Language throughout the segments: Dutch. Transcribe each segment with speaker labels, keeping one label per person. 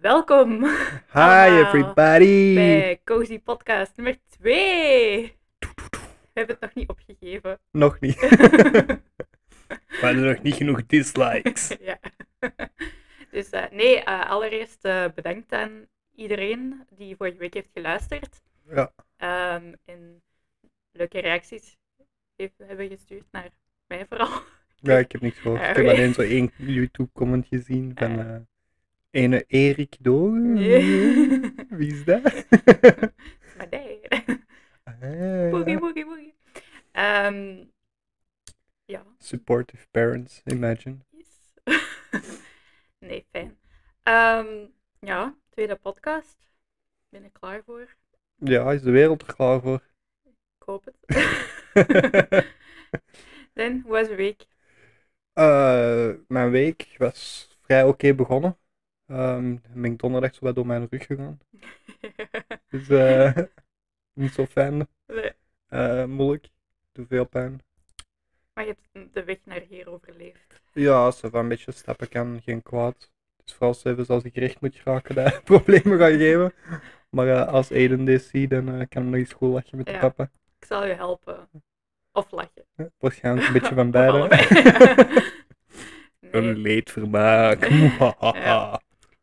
Speaker 1: Welkom
Speaker 2: Hi
Speaker 1: Allemaal.
Speaker 2: everybody!
Speaker 1: bij Cozy Podcast nummer 2. We hebben het nog niet opgegeven.
Speaker 2: Nog niet. Waren er nog niet genoeg dislikes?
Speaker 1: ja. Dus eh, nee, eh, allereerst eh, bedankt aan iedereen die vorige week heeft geluisterd.
Speaker 2: Ja.
Speaker 1: Ehm, en leuke reacties heeft, hebben gestuurd naar mij vooral.
Speaker 2: Ja, ik heb niks gehoord.
Speaker 1: Ah,
Speaker 2: Ik heb
Speaker 1: oké.
Speaker 2: alleen zo één YouTube-comment gezien van
Speaker 1: Ah.
Speaker 2: eh ene Erik Dogen.
Speaker 1: Nee.
Speaker 2: Wie is dat?
Speaker 1: maar nee.
Speaker 2: Ah,
Speaker 1: Boogie,
Speaker 2: ja.
Speaker 1: boogie, boogie. Ehm, ja.
Speaker 2: Supportive parents, imagine.
Speaker 1: Yes. nee, fijn. Ehm, ja, tweede podcast. Ben ik klaar voor?
Speaker 2: Ja, is de wereld er klaar voor?
Speaker 1: Ik hoop het. Dan, hoe was de week?
Speaker 2: Eh, mijn week was vrij oké begonnen. Ehm ben ik donderdag zo wat door mijn rug gegaan. Dus eh, niet zo fijn.
Speaker 1: Nee,
Speaker 2: Eh, moeilijk. Doe veel pijn.
Speaker 1: maar je hebt de weg naar hier overleefd.
Speaker 2: Ja, als er een beetje stappen kan, geen kwaad. Dus vooral zelfs als ik recht moet raken, dat problemen gaan geven. Maar eh, als Aiden dit ziet, dan eh, kan ik nog eens goed lachen met de Eh,
Speaker 1: Ja.
Speaker 2: papa.
Speaker 1: Ik zal je helpen. Of lachen.
Speaker 2: Waarschijnlijk een beetje van
Speaker 1: Of
Speaker 2: beide.
Speaker 1: allebei.
Speaker 2: Een
Speaker 1: nee.
Speaker 2: leedvermaak.
Speaker 1: Ja.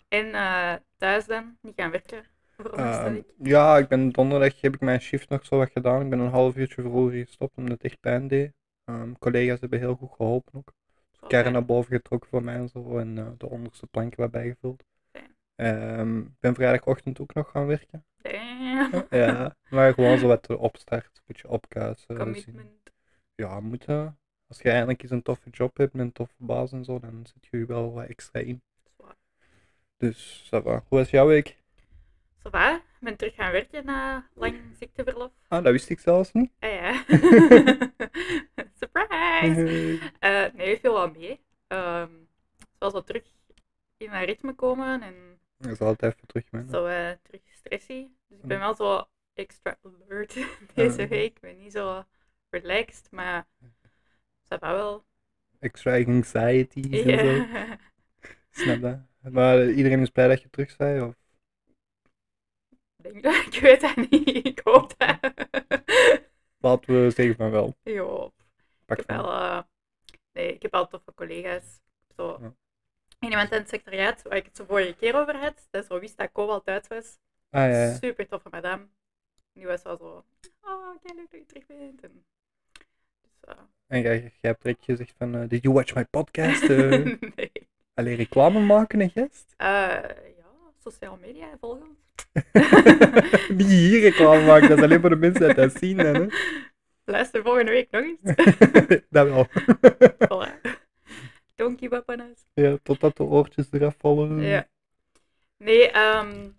Speaker 1: En eh, thuis dan? Niet gaan werken? Veronderstel
Speaker 2: Ehm,
Speaker 1: ik.
Speaker 2: ja, ik ben donderdag heb ik mijn shift nog zo wat gedaan. Ik ben een half uurtje vroeger gestopt omdat het echt pijn deed. Ehm, collega's hebben heel goed geholpen ook.
Speaker 1: Wel
Speaker 2: Karren
Speaker 1: fijn.
Speaker 2: naar boven getrokken voor mij en zo en eh, de onderste planken wat bijgevuld.
Speaker 1: Fijn.
Speaker 2: Ehm, Ik ben vrijdagochtend ook nog gaan werken.
Speaker 1: Damn.
Speaker 2: Ja, maar gewoon zo wat opstart, een beetje opkuisen. zien.
Speaker 1: Commitment.
Speaker 2: Ja, moet eh, Als je eindelijk eens een toffe job hebt met een toffe baas en zo, dan zit je er wel wat extra in.
Speaker 1: Zwaar.
Speaker 2: Dus, ça va. Hoe was jouw week?
Speaker 1: Ça va? Ik ben terug gaan werken na lang ziekteverlof.
Speaker 2: Ah, dat wist ik zelfs niet.
Speaker 1: Ah ja. Surprise! Eh, nee, veel wel mee. Ehm ik zal zo terug in mijn ritme komen en
Speaker 2: Dat is altijd even terug, man.
Speaker 1: zo eh, terug stressy. Dus ik ben
Speaker 2: Mm.
Speaker 1: wel zo extra alert deze
Speaker 2: Ah.
Speaker 1: week. Ik ben niet zo relaxed, maar dat va wel.
Speaker 2: Extra anxieties
Speaker 1: Ja.
Speaker 2: en zo. Snap dat. Maar eh, iedereen is blij dat je terug zei, of?
Speaker 1: Denk dat, ik weet dat niet. Ik hoop dat.
Speaker 2: Laten we zeggen van wel.
Speaker 1: Jo.
Speaker 2: Pak
Speaker 1: Ik heb
Speaker 2: van.
Speaker 1: wel, eh, nee, ik heb wel toffe collega's. Zo.
Speaker 2: Ja.
Speaker 1: En iemand in het secretariaat, waar ik het zo vorige keer over had, dat zo wist dat Cobalt uit was.
Speaker 2: Ah ja, ja.
Speaker 1: Super toffe madame. Die was wel zo, oh, kijk leuk dat je terug bent. En, dus, eh,
Speaker 2: En jij, jij hebt direct gezegd van, eh, did you watch my podcast? Eh,
Speaker 1: nee.
Speaker 2: alleen reclame maken, hè, gast?
Speaker 1: Eh, ja, sociale media, volg ons.
Speaker 2: Die hier reclame maken, dat is alleen voor de mensen die dat zien. Dan, hè.
Speaker 1: Luister volgende week nog eens.
Speaker 2: dat wel.
Speaker 1: voilà. Don't give up on us.
Speaker 2: ja, totdat de oortjes eraf vallen.
Speaker 1: Ja. Nee, ehm,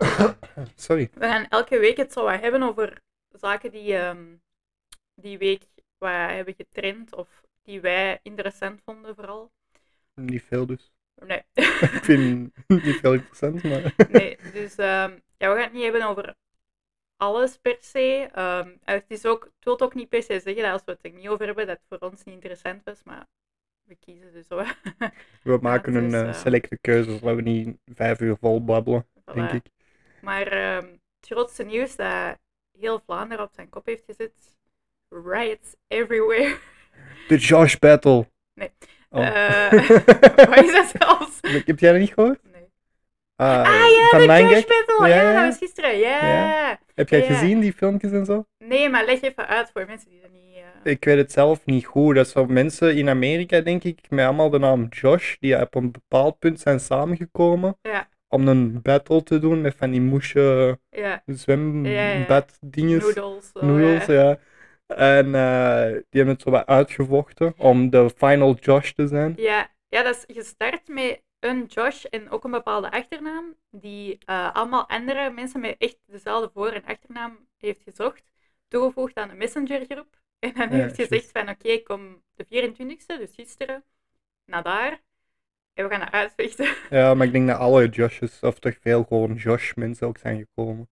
Speaker 2: Sorry.
Speaker 1: We gaan elke week het zo wat hebben over zaken die ehm, die week wat hebben getraind of die wij interessant vonden vooral.
Speaker 2: Niet veel dus.
Speaker 1: Nee,
Speaker 2: Ik vind het niet veel interessant, maar...
Speaker 1: nee dus ehm, ja, we gaan het niet hebben over alles per se. Ehm, het, is ook, het wil ook niet per se zeggen dat als we het er niet over hebben, dat het voor ons niet interessant was, maar we kiezen dus zo.
Speaker 2: We maken
Speaker 1: het
Speaker 2: een
Speaker 1: is,
Speaker 2: eh,
Speaker 1: eh,
Speaker 2: selecte keuze, zodat we niet vijf uur vol babbelen, denk
Speaker 1: Voilà.
Speaker 2: ik.
Speaker 1: Maar ehm, het grootste nieuws dat heel Vlaanderen op zijn kop heeft gezet, riots everywhere.
Speaker 2: De Josh Battle.
Speaker 1: Nee.
Speaker 2: Oh.
Speaker 1: Eh, wat is dat zelfs?
Speaker 2: Heb jij dat niet gehoord?
Speaker 1: Nee.
Speaker 2: Ah,
Speaker 1: Ah ja,
Speaker 2: van
Speaker 1: de
Speaker 2: Langek?
Speaker 1: Josh Battle. Ja,
Speaker 2: Ja, ja.
Speaker 1: dat was gisteren. Ja.
Speaker 2: Ja. Heb jij
Speaker 1: Ja, ja.
Speaker 2: gezien die filmpjes en zo?
Speaker 1: Nee, maar leg even uit voor mensen die dat niet... eh,
Speaker 2: Ik weet het zelf niet goed. Dat zijn mensen in Amerika, denk ik, met allemaal de naam Josh, die op een bepaald punt zijn samengekomen
Speaker 1: Ja.
Speaker 2: om een battle te doen met van die moesje
Speaker 1: ja,
Speaker 2: Dus
Speaker 1: Ja, ja.
Speaker 2: zwembaddinges,
Speaker 1: noodles. eh, zo,
Speaker 2: noedels,
Speaker 1: ja.
Speaker 2: ja. En eh, die hebben het zo wat uitgevochten om de final Josh te zijn.
Speaker 1: Ja. ja, dat is gestart met een Josh en ook een bepaalde achternaam, die eh, allemaal andere mensen met echt dezelfde voor- en achternaam heeft gezocht, toegevoegd aan de messengergroep. En dan
Speaker 2: Ja,
Speaker 1: heeft gezegd
Speaker 2: juist.
Speaker 1: van, oké, ik kom de 24e, dus gisteren, naar daar. En we gaan dat uitvechten.
Speaker 2: Ja, maar ik denk dat alle Joshes, of toch veel gewoon Josh mensen ook zijn gekomen.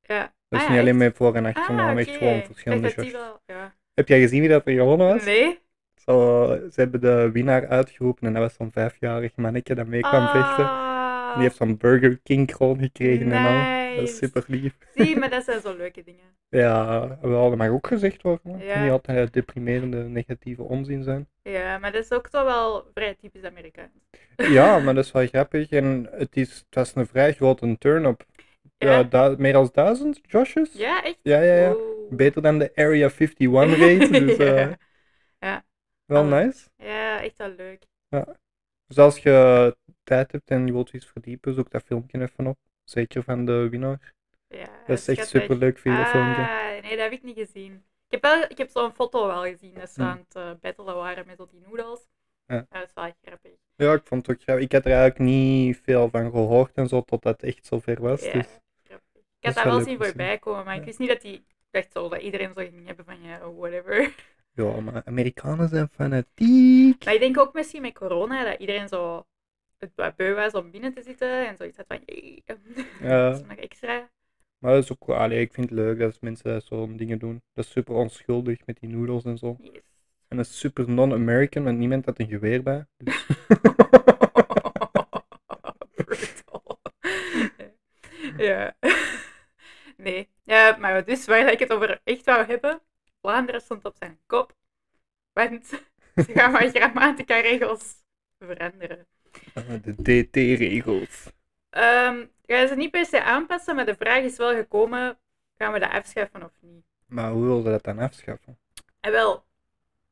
Speaker 1: Ja.
Speaker 2: Dat is
Speaker 1: Ah,
Speaker 2: niet alleen
Speaker 1: echt?
Speaker 2: met voor- en achternaam,
Speaker 1: Ah, oké.
Speaker 2: echt gewoon verschillende
Speaker 1: Ik dacht dat die
Speaker 2: Josh.
Speaker 1: wel- ja.
Speaker 2: Heb jij gezien wie dat er gewonnen was?
Speaker 1: Nee. Ah.
Speaker 2: Zo, ze hebben de winnaar uitgeroepen en dat was zo'n vijfjarig mannetje dat mee kwam vechten. Die heeft dan Burger King kroon gekregen en al. Dat
Speaker 1: Nice.
Speaker 2: is super lief.
Speaker 1: Zie, maar dat zijn zo leuke dingen.
Speaker 2: Ja, we hadden maar ook gezegd worden. Het kan
Speaker 1: Ja.
Speaker 2: Niet altijd deprimerende, negatieve onzin zijn.
Speaker 1: Ja, maar dat is ook toch wel vrij typisch Amerikaans.
Speaker 2: Ja, maar dat is wel grappig. En het, is, het was een vrij grote turn-up. Ja,
Speaker 1: Ja,
Speaker 2: du- meer dan duizend Joshes?
Speaker 1: ja echt?
Speaker 2: ja, ja. ja.
Speaker 1: Oeh.
Speaker 2: Beter dan de Area 51 rate. Dus eh,
Speaker 1: ja. Ah. Ja.
Speaker 2: wel
Speaker 1: Alles.
Speaker 2: nice.
Speaker 1: ja, echt wel leuk.
Speaker 2: Dus als je tijd hebt en je wilt iets verdiepen, zoek dat filmpje even op. Zeker van de winnaar.
Speaker 1: Ja,
Speaker 2: Dat is echt
Speaker 1: Ah, schattig.
Speaker 2: superleuk, vind je dat filmpje.
Speaker 1: Ah, nee, dat heb ik niet gezien. Ik heb, wel, ik heb zo'n foto wel gezien, dat ze
Speaker 2: Hmm.
Speaker 1: aan het eh, battelen waren met al die noedels.
Speaker 2: Ja.
Speaker 1: Dat is wel echt grappig.
Speaker 2: Ja, ik vond het ook grappig. Ik had er eigenlijk niet veel van gehoord en zo, totdat het echt zover was.
Speaker 1: Ja,
Speaker 2: Dus
Speaker 1: grappig. Ik
Speaker 2: is
Speaker 1: had dat
Speaker 2: wel
Speaker 1: wel
Speaker 2: leuk
Speaker 1: zien
Speaker 2: om te zien.
Speaker 1: voorbij komen, maar
Speaker 2: Ja.
Speaker 1: ik wist niet dat die ik dacht zo dat iedereen zo ging hebben van ja, whatever.
Speaker 2: ja, maar Amerikanen zijn fanatiek.
Speaker 1: Maar ik denk ook misschien met corona dat iedereen zo het wat beu was om binnen te zitten en zoiets had van jee,
Speaker 2: Ja.
Speaker 1: dat is nog extra.
Speaker 2: Maar dat is ook, allee, ik vind het leuk dat mensen zo'n dingen doen. Dat is super onschuldig met die noedels en zo.
Speaker 1: Yes.
Speaker 2: En dat is super non-American, want niemand had een geweer bij. Dus...
Speaker 1: Brutal. ja. Nee. Ja, maar dus waar ik het over echt wou hebben, Vlaanderen stond op zijn kop. Want ze gaan maar grammatica-regels veranderen.
Speaker 2: Ah, De DT-regels.
Speaker 1: Ehm gaan ze niet per se aanpassen, maar de vraag is wel gekomen, gaan we dat afschaffen of niet?
Speaker 2: Maar hoe wil je dat dan afschaffen?
Speaker 1: En wel,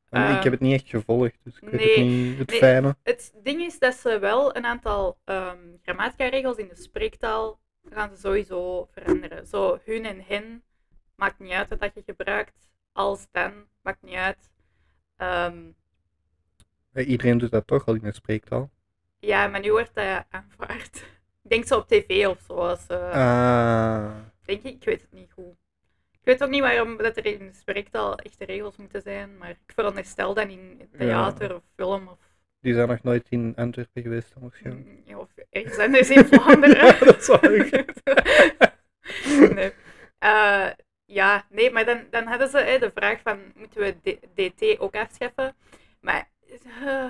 Speaker 2: Want ik
Speaker 1: Eh,
Speaker 2: heb het niet echt gevolgd, dus ik weet
Speaker 1: nee,
Speaker 2: het niet. Het
Speaker 1: nee.
Speaker 2: fijne.
Speaker 1: het ding is dat ze wel een aantal ehm grammatica-regels in de spreektaal gaan ze sowieso veranderen. Zo hun en hen, maakt niet uit wat dat je gebruikt. Als dan, maakt niet uit. Ehm,
Speaker 2: Eh, Iedereen doet dat toch al in de spreektaal.
Speaker 1: ja, maar nu wordt dat aanvaard. Ik denk zo op tv of zo. Als, eh,
Speaker 2: Ah.
Speaker 1: Denk ik, ik weet het niet goed. Ik weet ook niet waarom dat er in de spreektaal echte regels moeten zijn, maar ik veronderstel dat in theater of film of,
Speaker 2: Die zijn nog nooit in Antwerpen geweest, dan waarschijnlijk.
Speaker 1: mm, of ergens anders in Vlaanderen.
Speaker 2: Dat zou ik-
Speaker 1: nee. Eh, ja, nee, maar dan, dan hadden ze eh, de vraag van, moeten we D- DT ook afschaffen? Maar, eh,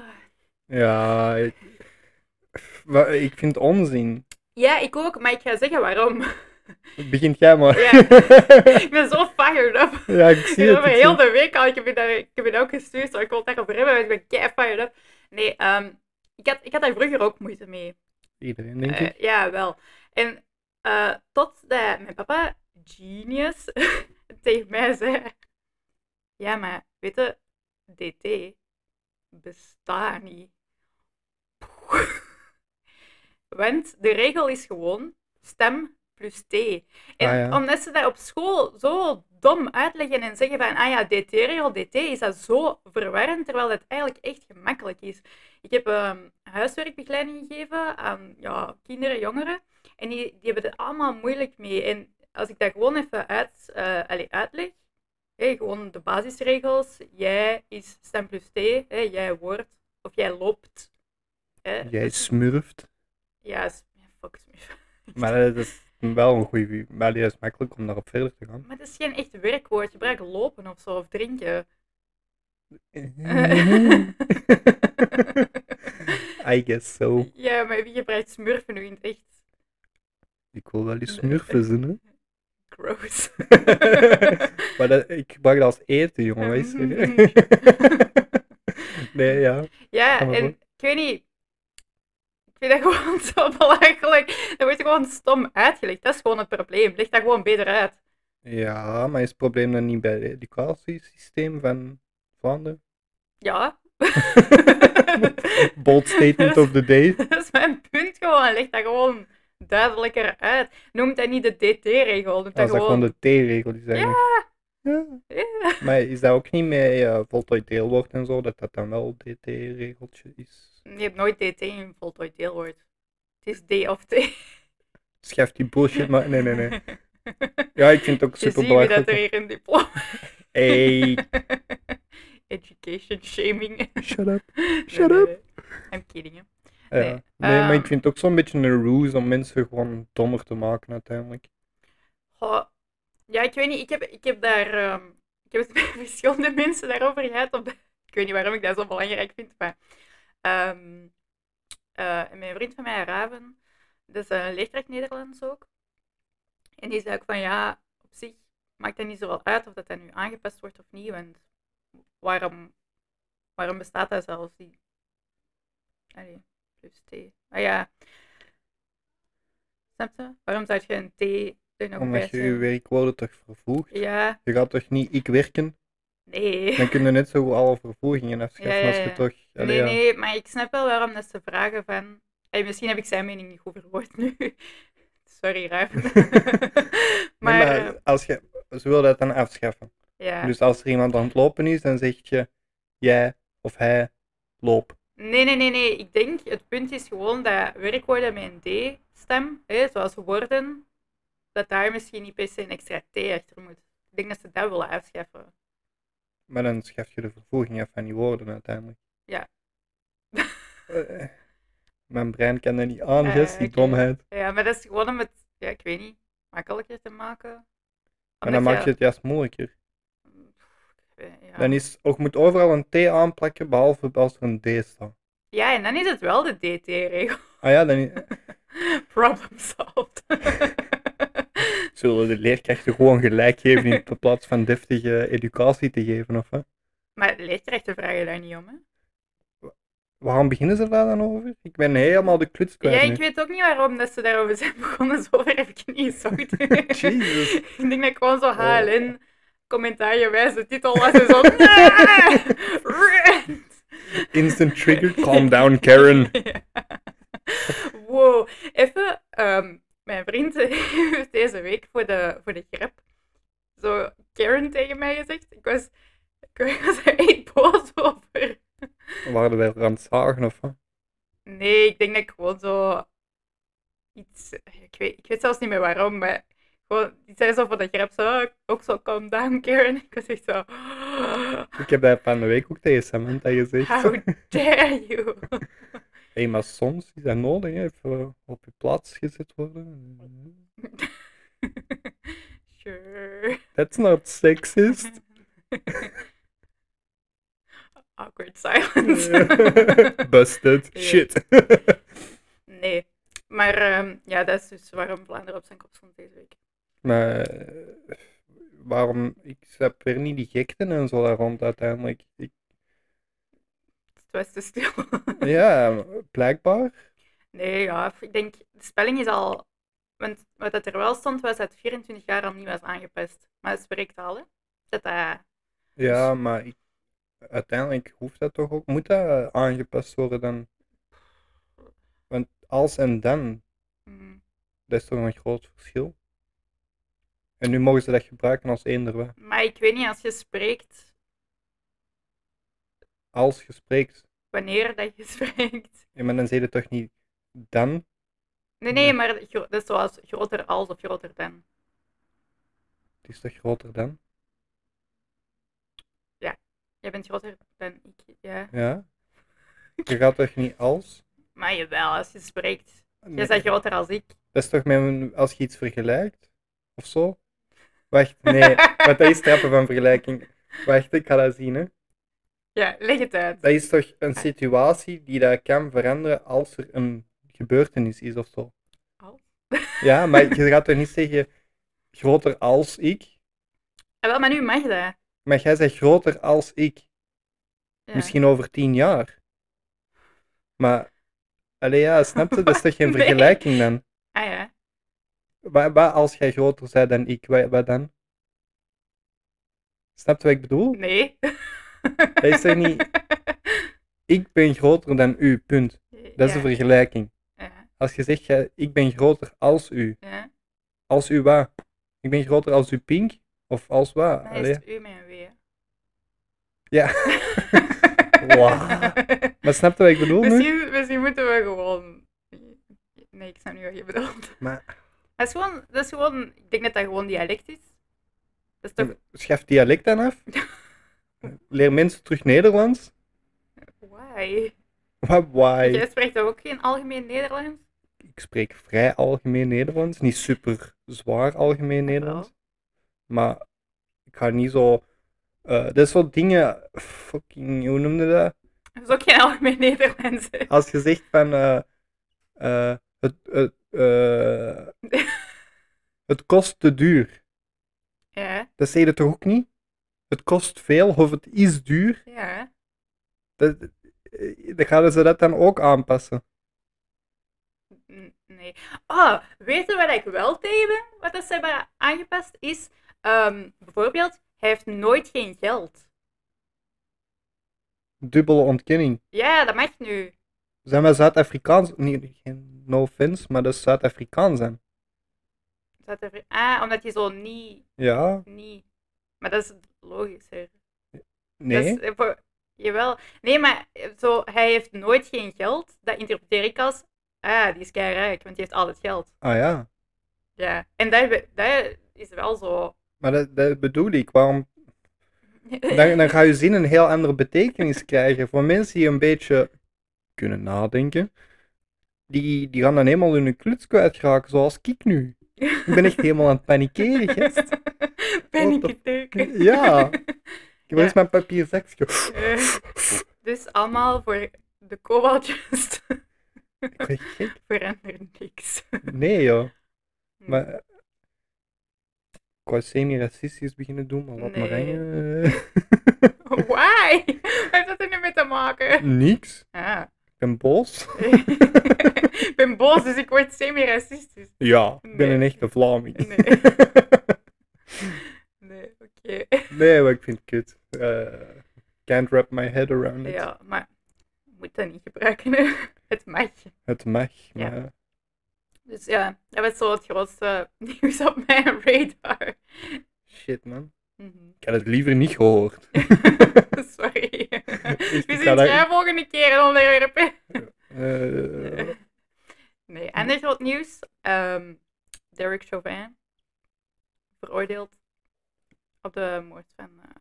Speaker 2: Ja, ik... Wa- ik vind het onzin.
Speaker 1: ja, ik ook, maar ik ga zeggen waarom.
Speaker 2: Begint jij maar.
Speaker 1: Ja. ik ben zo fired up.
Speaker 2: Ja, ik zie
Speaker 1: Ik heb
Speaker 2: het.
Speaker 1: over
Speaker 2: ik
Speaker 1: heel
Speaker 2: zie
Speaker 1: de week al, ik heb je daar, ik heb je daar ook gestuurd, zo, ik wil het daarover hebben, want ik ben keihard up. Nee, ehm, ik, had, ik had daar vroeger ook moeite mee.
Speaker 2: het. Iedereen, denk ik.
Speaker 1: Eh, ja, wel. En eh totdat mijn papa, genius, tegen mij zei... Ja, maar weet je, DT bestaat niet. Want de regel is gewoon stem plus T. En
Speaker 2: Ah, ja.
Speaker 1: omdat ze dat op school zo dom uitleggen en zeggen van, ah ja, DT-regel, DT, is dat zo verwarrend, terwijl het eigenlijk echt gemakkelijk is. Ik heb ehm, huiswerkbegeleiding gegeven aan ja, kinderen, jongeren, en die, die hebben er allemaal moeilijk mee. En als ik dat gewoon even uit, eh, allee, uitleg, hé, gewoon de basisregels, jij is stem plus T, hè, jij wordt, of jij loopt. hè.
Speaker 2: Jij smurft.
Speaker 1: Ja, is- ja, fuck smurf.
Speaker 2: Maar eh, dat is wel een goede. Maar die is makkelijk om daarop verder te gaan.
Speaker 1: Maar dat is geen echt werkwoord. Gebruik lopen of zo, of drinken.
Speaker 2: I guess so.
Speaker 1: ja, maar wie gebruikt smurfen nu in het echt?
Speaker 2: Ik wil wel die smurfen zien, hè.
Speaker 1: Gross.
Speaker 2: maar dat, ik gebruik dat als eten, jongen. Wees serieus. nee, ja.
Speaker 1: ja,
Speaker 2: Kan dat
Speaker 1: en
Speaker 2: ook?
Speaker 1: ik weet niet. Ik vind dat gewoon zo belachelijk. Dat wordt gewoon stom uitgelegd. Dat is gewoon het probleem. Leg dat gewoon beter uit.
Speaker 2: Ja, maar is het probleem dan niet bij het educatiesysteem van Vlaanderen?
Speaker 1: Ja.
Speaker 2: Bold statement of the day.
Speaker 1: Dat is mijn punt gewoon. Leg dat gewoon duidelijker uit. Noem dat niet de DT-regel. Noem
Speaker 2: Dat
Speaker 1: dat
Speaker 2: is dat gewoon de T-regel die zijn. Ja.
Speaker 1: Ja.
Speaker 2: Maar is dat ook niet met eh, voltooid deelwoord en zo, dat dat dan wel DT-regeltje is?
Speaker 1: Je hebt nooit DT in voltooid deelwoord. Het is D of T.
Speaker 2: Schrijf die bullshit, maar nee, nee, nee. Ja, ik vind het ook
Speaker 1: Je
Speaker 2: super
Speaker 1: ziet wie dat er
Speaker 2: belangrijk.
Speaker 1: hier een diploma.
Speaker 2: Hey,
Speaker 1: Education shaming.
Speaker 2: shut up.
Speaker 1: Nee,
Speaker 2: Shut
Speaker 1: nee,
Speaker 2: up.
Speaker 1: nee. I'm kidding. hè.
Speaker 2: Ja. Nee,
Speaker 1: Nee,
Speaker 2: maar ik
Speaker 1: ehm.
Speaker 2: vind het ook zo'n beetje een ruse om mensen gewoon dommer te maken uiteindelijk.
Speaker 1: Goh, Ja, ik weet niet. Ik heb, ik heb daar. ehm, ik heb het met verschillende mensen daarover gehad. Omdat, ik weet niet waarom ik dat zo belangrijk vind. Maar. ehm, eh, mijn vriend van mij, Raven. Dus een leerkracht Nederlands ook. En die zei ook van ja, op zich maakt dat niet zo wel uit of dat, dat nu aangepast wordt of niet. Want waarom, waarom bestaat dat zelfs? Die... Allee, plus T. Maar ja. Snap je? Waarom zou je een T er nog bij
Speaker 2: Omdat je je
Speaker 1: zetten?
Speaker 2: werkwoorden toch vervoegt?
Speaker 1: Ja,
Speaker 2: Je gaat toch niet ik werken?
Speaker 1: nee.
Speaker 2: Dan kun je net zo goed alle vervoegingen afschaffen
Speaker 1: Ja, ja,
Speaker 2: als je
Speaker 1: ja.
Speaker 2: toch... Allee,
Speaker 1: Nee,
Speaker 2: ja.
Speaker 1: nee, maar ik snap wel waarom dat ze vragen van... Hey, misschien heb ik zijn mening niet goed verwoord nu. Sorry, Ruim. maar,
Speaker 2: Nee, maar
Speaker 1: eh,
Speaker 2: als je, ze willen dat dan afschaffen.
Speaker 1: ja.
Speaker 2: Dus als er iemand aan het lopen is, dan zeg je jij of hij loop.
Speaker 1: Nee, nee, nee, nee. Ik denk, het punt is gewoon dat werkwoorden met een D-stem, hè, zoals woorden, dat daar misschien niet per se een extra T achter moet. Ik denk dat ze dat willen afschaffen.
Speaker 2: Maar dan schaf je de vervoeging af van die woorden uiteindelijk.
Speaker 1: Ja.
Speaker 2: Eh, eh. mijn brein kan dat niet aan,
Speaker 1: Eh,
Speaker 2: Jess, die
Speaker 1: oké.
Speaker 2: domheid.
Speaker 1: Ja, maar dat is gewoon om het, ja, ik weet niet, makkelijker te maken.
Speaker 2: Maar dan
Speaker 1: Omdat
Speaker 2: maak je het juist moeilijker.
Speaker 1: ik weet- Ja.
Speaker 2: Dan is, ook moet overal een T aanplakken, behalve als er een D staat.
Speaker 1: ja, en dan is het wel de DT-regel.
Speaker 2: Ah ja, dan i-
Speaker 1: Problem solved.
Speaker 2: zullen de leerkrachten gewoon gelijk geven in plaats van deftige educatie te geven, of hè?
Speaker 1: maar leerkrachten vragen daar niet om, hè?
Speaker 2: Waarom beginnen ze daar dan over? Ik ben helemaal de kluts kwijt
Speaker 1: Ja,
Speaker 2: nu.
Speaker 1: ik weet ook niet waarom dat ze daarover zijn begonnen. Zover heb ik niet gezocht.
Speaker 2: Jezus.
Speaker 1: ik denk dat ik gewoon zo HLN commentaargewijs de titel was en zo... "Nee!" Rant.
Speaker 2: Instant trigger, calm down Karen.
Speaker 1: Ja. Wow. Even, ehm, mijn vriend heeft deze week voor de, voor de grap zo Karen tegen mij gezegd. Ik was, ik was er echt boos over.
Speaker 2: Waren wij er aan het zagen of wat?
Speaker 1: Nee, ik denk dat ik gewoon zo iets. Ik weet, ik weet zelfs niet meer waarom, maar gewoon, die zei zo van de grap zo, ook zo calm down, Karen. Ik was echt zo.
Speaker 2: Ik heb dat van de week ook tegen Samantha gezegd.
Speaker 1: How dare you?
Speaker 2: Hé, maar soms is dat nodig, hè? Even op je plaats gezet worden.
Speaker 1: sure.
Speaker 2: That's not sexist.
Speaker 1: Awkward silence.
Speaker 2: Busted.
Speaker 1: Ja.
Speaker 2: Shit.
Speaker 1: nee. Maar ehm, ja, dat is dus waarom Vlaanderen op zijn kop stond deze week.
Speaker 2: maar eh, waarom? Ik snap weer niet die gekten en zo daar rond uiteindelijk. Ik,
Speaker 1: Het was te stil.
Speaker 2: ja, blijkbaar.
Speaker 1: Nee, ja, ik denk, de spelling is al. Want wat dat er wel stond, was dat 24 jaar al niet was aangepast. Maar dat spreekt al, hè? Dat dat...
Speaker 2: Ja, maar ik, uiteindelijk hoeft dat toch ook. Moet dat eh, aangepast worden dan? Want als en dan,
Speaker 1: mm,
Speaker 2: dat is toch een groot verschil. En nu mogen ze dat gebruiken als eender wat.
Speaker 1: Maar ik weet niet, als je spreekt,
Speaker 2: Als je spreekt.
Speaker 1: wanneer dat je spreekt.
Speaker 2: Ja, maar dan zeg je toch niet dan?
Speaker 1: Nee, nee,
Speaker 2: Ja.
Speaker 1: maar gro- dat is zoals groter als of groter dan.
Speaker 2: Het is toch groter dan?
Speaker 1: Jij bent groter dan ik, ja.
Speaker 2: Ja. Je gaat toch niet als?
Speaker 1: Maar jawel, als je spreekt.
Speaker 2: Nee.
Speaker 1: Jij bent groter als ik.
Speaker 2: Dat is toch met een- als je iets vergelijkt? Of zo? Wacht, nee. Want dat is trappen van vergelijking. Wacht, ik ga dat zien. Hè.
Speaker 1: Ja, leg het uit.
Speaker 2: Dat is toch een situatie die dat kan veranderen als er een gebeurtenis is of zo.
Speaker 1: Als?
Speaker 2: Ja, maar je gaat toch niet zeggen groter als ik?
Speaker 1: Ah, wel, maar nu mag dat.
Speaker 2: Maar jij zegt groter als ik.
Speaker 1: Ja.
Speaker 2: Misschien over tien jaar. Maar, allee ja, snap je? Dat is toch geen
Speaker 1: Nee.
Speaker 2: vergelijking dan?
Speaker 1: Ah ja.
Speaker 2: Waar, waar als jij groter bent dan ik, wat, wat dan? Snap je wat ik bedoel?
Speaker 1: Nee.
Speaker 2: Dat is toch niet, ik ben groter dan u, punt. Dat is een
Speaker 1: ja.
Speaker 2: vergelijking.
Speaker 1: ja,
Speaker 2: Als je zegt, jij- ik ben groter als u.
Speaker 1: ja.
Speaker 2: Als u wat? Ik ben groter als u pink? Of als wat?
Speaker 1: Maar
Speaker 2: Allee.
Speaker 1: is het u met een W, hè?
Speaker 2: Ja. Wauw. Maar snap je wat ik bedoel nu?
Speaker 1: misschien, misschien moeten we gewoon. Nee, ik snap niet wat je bedoelt.
Speaker 2: Maar
Speaker 1: Dat is gewoon, dat is gewoon ik denk dat dat gewoon dialect is. Dat is toch.
Speaker 2: schaf dialect dan af. Leer mensen terug Nederlands.
Speaker 1: Why?
Speaker 2: Wat why?
Speaker 1: Jij spreekt toch ook geen algemeen Nederlands?
Speaker 2: ik spreek vrij algemeen Nederlands. Niet super zwaar algemeen Nederlands. Maar ik ga niet zo. eh dat is wel dingen. Fucking, hoe noemde dat?
Speaker 1: Dat is ook geen algemeen Nederlands. hè.
Speaker 2: Als je zegt van. eh, eh, het, het eh, het kost te duur.
Speaker 1: Ja,
Speaker 2: Dat zei je toch ook niet? Het kost veel of het is duur.
Speaker 1: ja.
Speaker 2: Dat, eh, dan gaan ze dat dan ook aanpassen.
Speaker 1: N- Nee. Oh, weet je wat ik wel tegen ben? Wat dat ze hebben aangepast is, ehm, bijvoorbeeld, hij heeft nooit geen geld.
Speaker 2: Dubbele ontkenning.
Speaker 1: Ja, dat mag nu.
Speaker 2: Zijn wij Zuid-Afrikaans? Nee, geen no offense, maar dat is Zuid-Afrikaans zijn.
Speaker 1: Dat er, ah, omdat hij zo niet,
Speaker 2: Ja,
Speaker 1: niet. Maar dat is logisch. Hè.
Speaker 2: nee.
Speaker 1: Dat is, eh, voor- jawel. Nee, maar eh, zo, hij heeft nooit geen geld. Dat interpreteer ik als, ah, die is keirijk, want die heeft altijd geld.
Speaker 2: Ah ja,
Speaker 1: Ja. En dat, dat is wel zo.
Speaker 2: maar dat, dat bedoel ik. Waarom? Dan, dan ga je zin een heel andere betekenis krijgen. Voor mensen die een beetje kunnen nadenken, die, die gaan dan helemaal hun kluts kwijtraken, zoals ik nu. Ik ben echt helemaal aan het panikeren, gest.
Speaker 1: Ben
Speaker 2: What
Speaker 1: ik
Speaker 2: the-
Speaker 1: het teken?
Speaker 2: Ja. Ik heb
Speaker 1: Ja.
Speaker 2: eens mijn papier zakje.
Speaker 1: Eh, dus allemaal voor de kobaltjes
Speaker 2: Ik word gek.
Speaker 1: verandert niks.
Speaker 2: Nee, joh.
Speaker 1: Hm.
Speaker 2: Maar... Ik wou semi-racistisch beginnen doen, maar eh, laat maar
Speaker 1: Nee.
Speaker 2: hangen.
Speaker 1: Why? Wat heeft dat er nu mee te maken?
Speaker 2: Niks.
Speaker 1: Ah.
Speaker 2: Ik ben boos.
Speaker 1: ik ben boos, dus ik word semi-racistisch.
Speaker 2: Ja, ik ben
Speaker 1: Nee.
Speaker 2: een echte Vlaming.
Speaker 1: Nee. Nee, oké.
Speaker 2: Nee, maar ik vind het kut. Eh, can't wrap my head around it.
Speaker 1: Ja, maar je moet dat niet gebruiken. hè. Het mag.
Speaker 2: Het mag,
Speaker 1: Ja.
Speaker 2: maar
Speaker 1: Dus ja, dat was zo het grootste nieuws op mijn radar.
Speaker 2: shit man.
Speaker 1: Mhm.
Speaker 2: Ik had het liever niet gehoord.
Speaker 1: Sorry.
Speaker 2: ik
Speaker 1: We zien
Speaker 2: ga daar-
Speaker 1: jij volgende keer in onderwerpen.
Speaker 2: Eh,
Speaker 1: Nee, en er groot nieuws. Ehm Derek Chauvin veroordeeld op de moord van eh,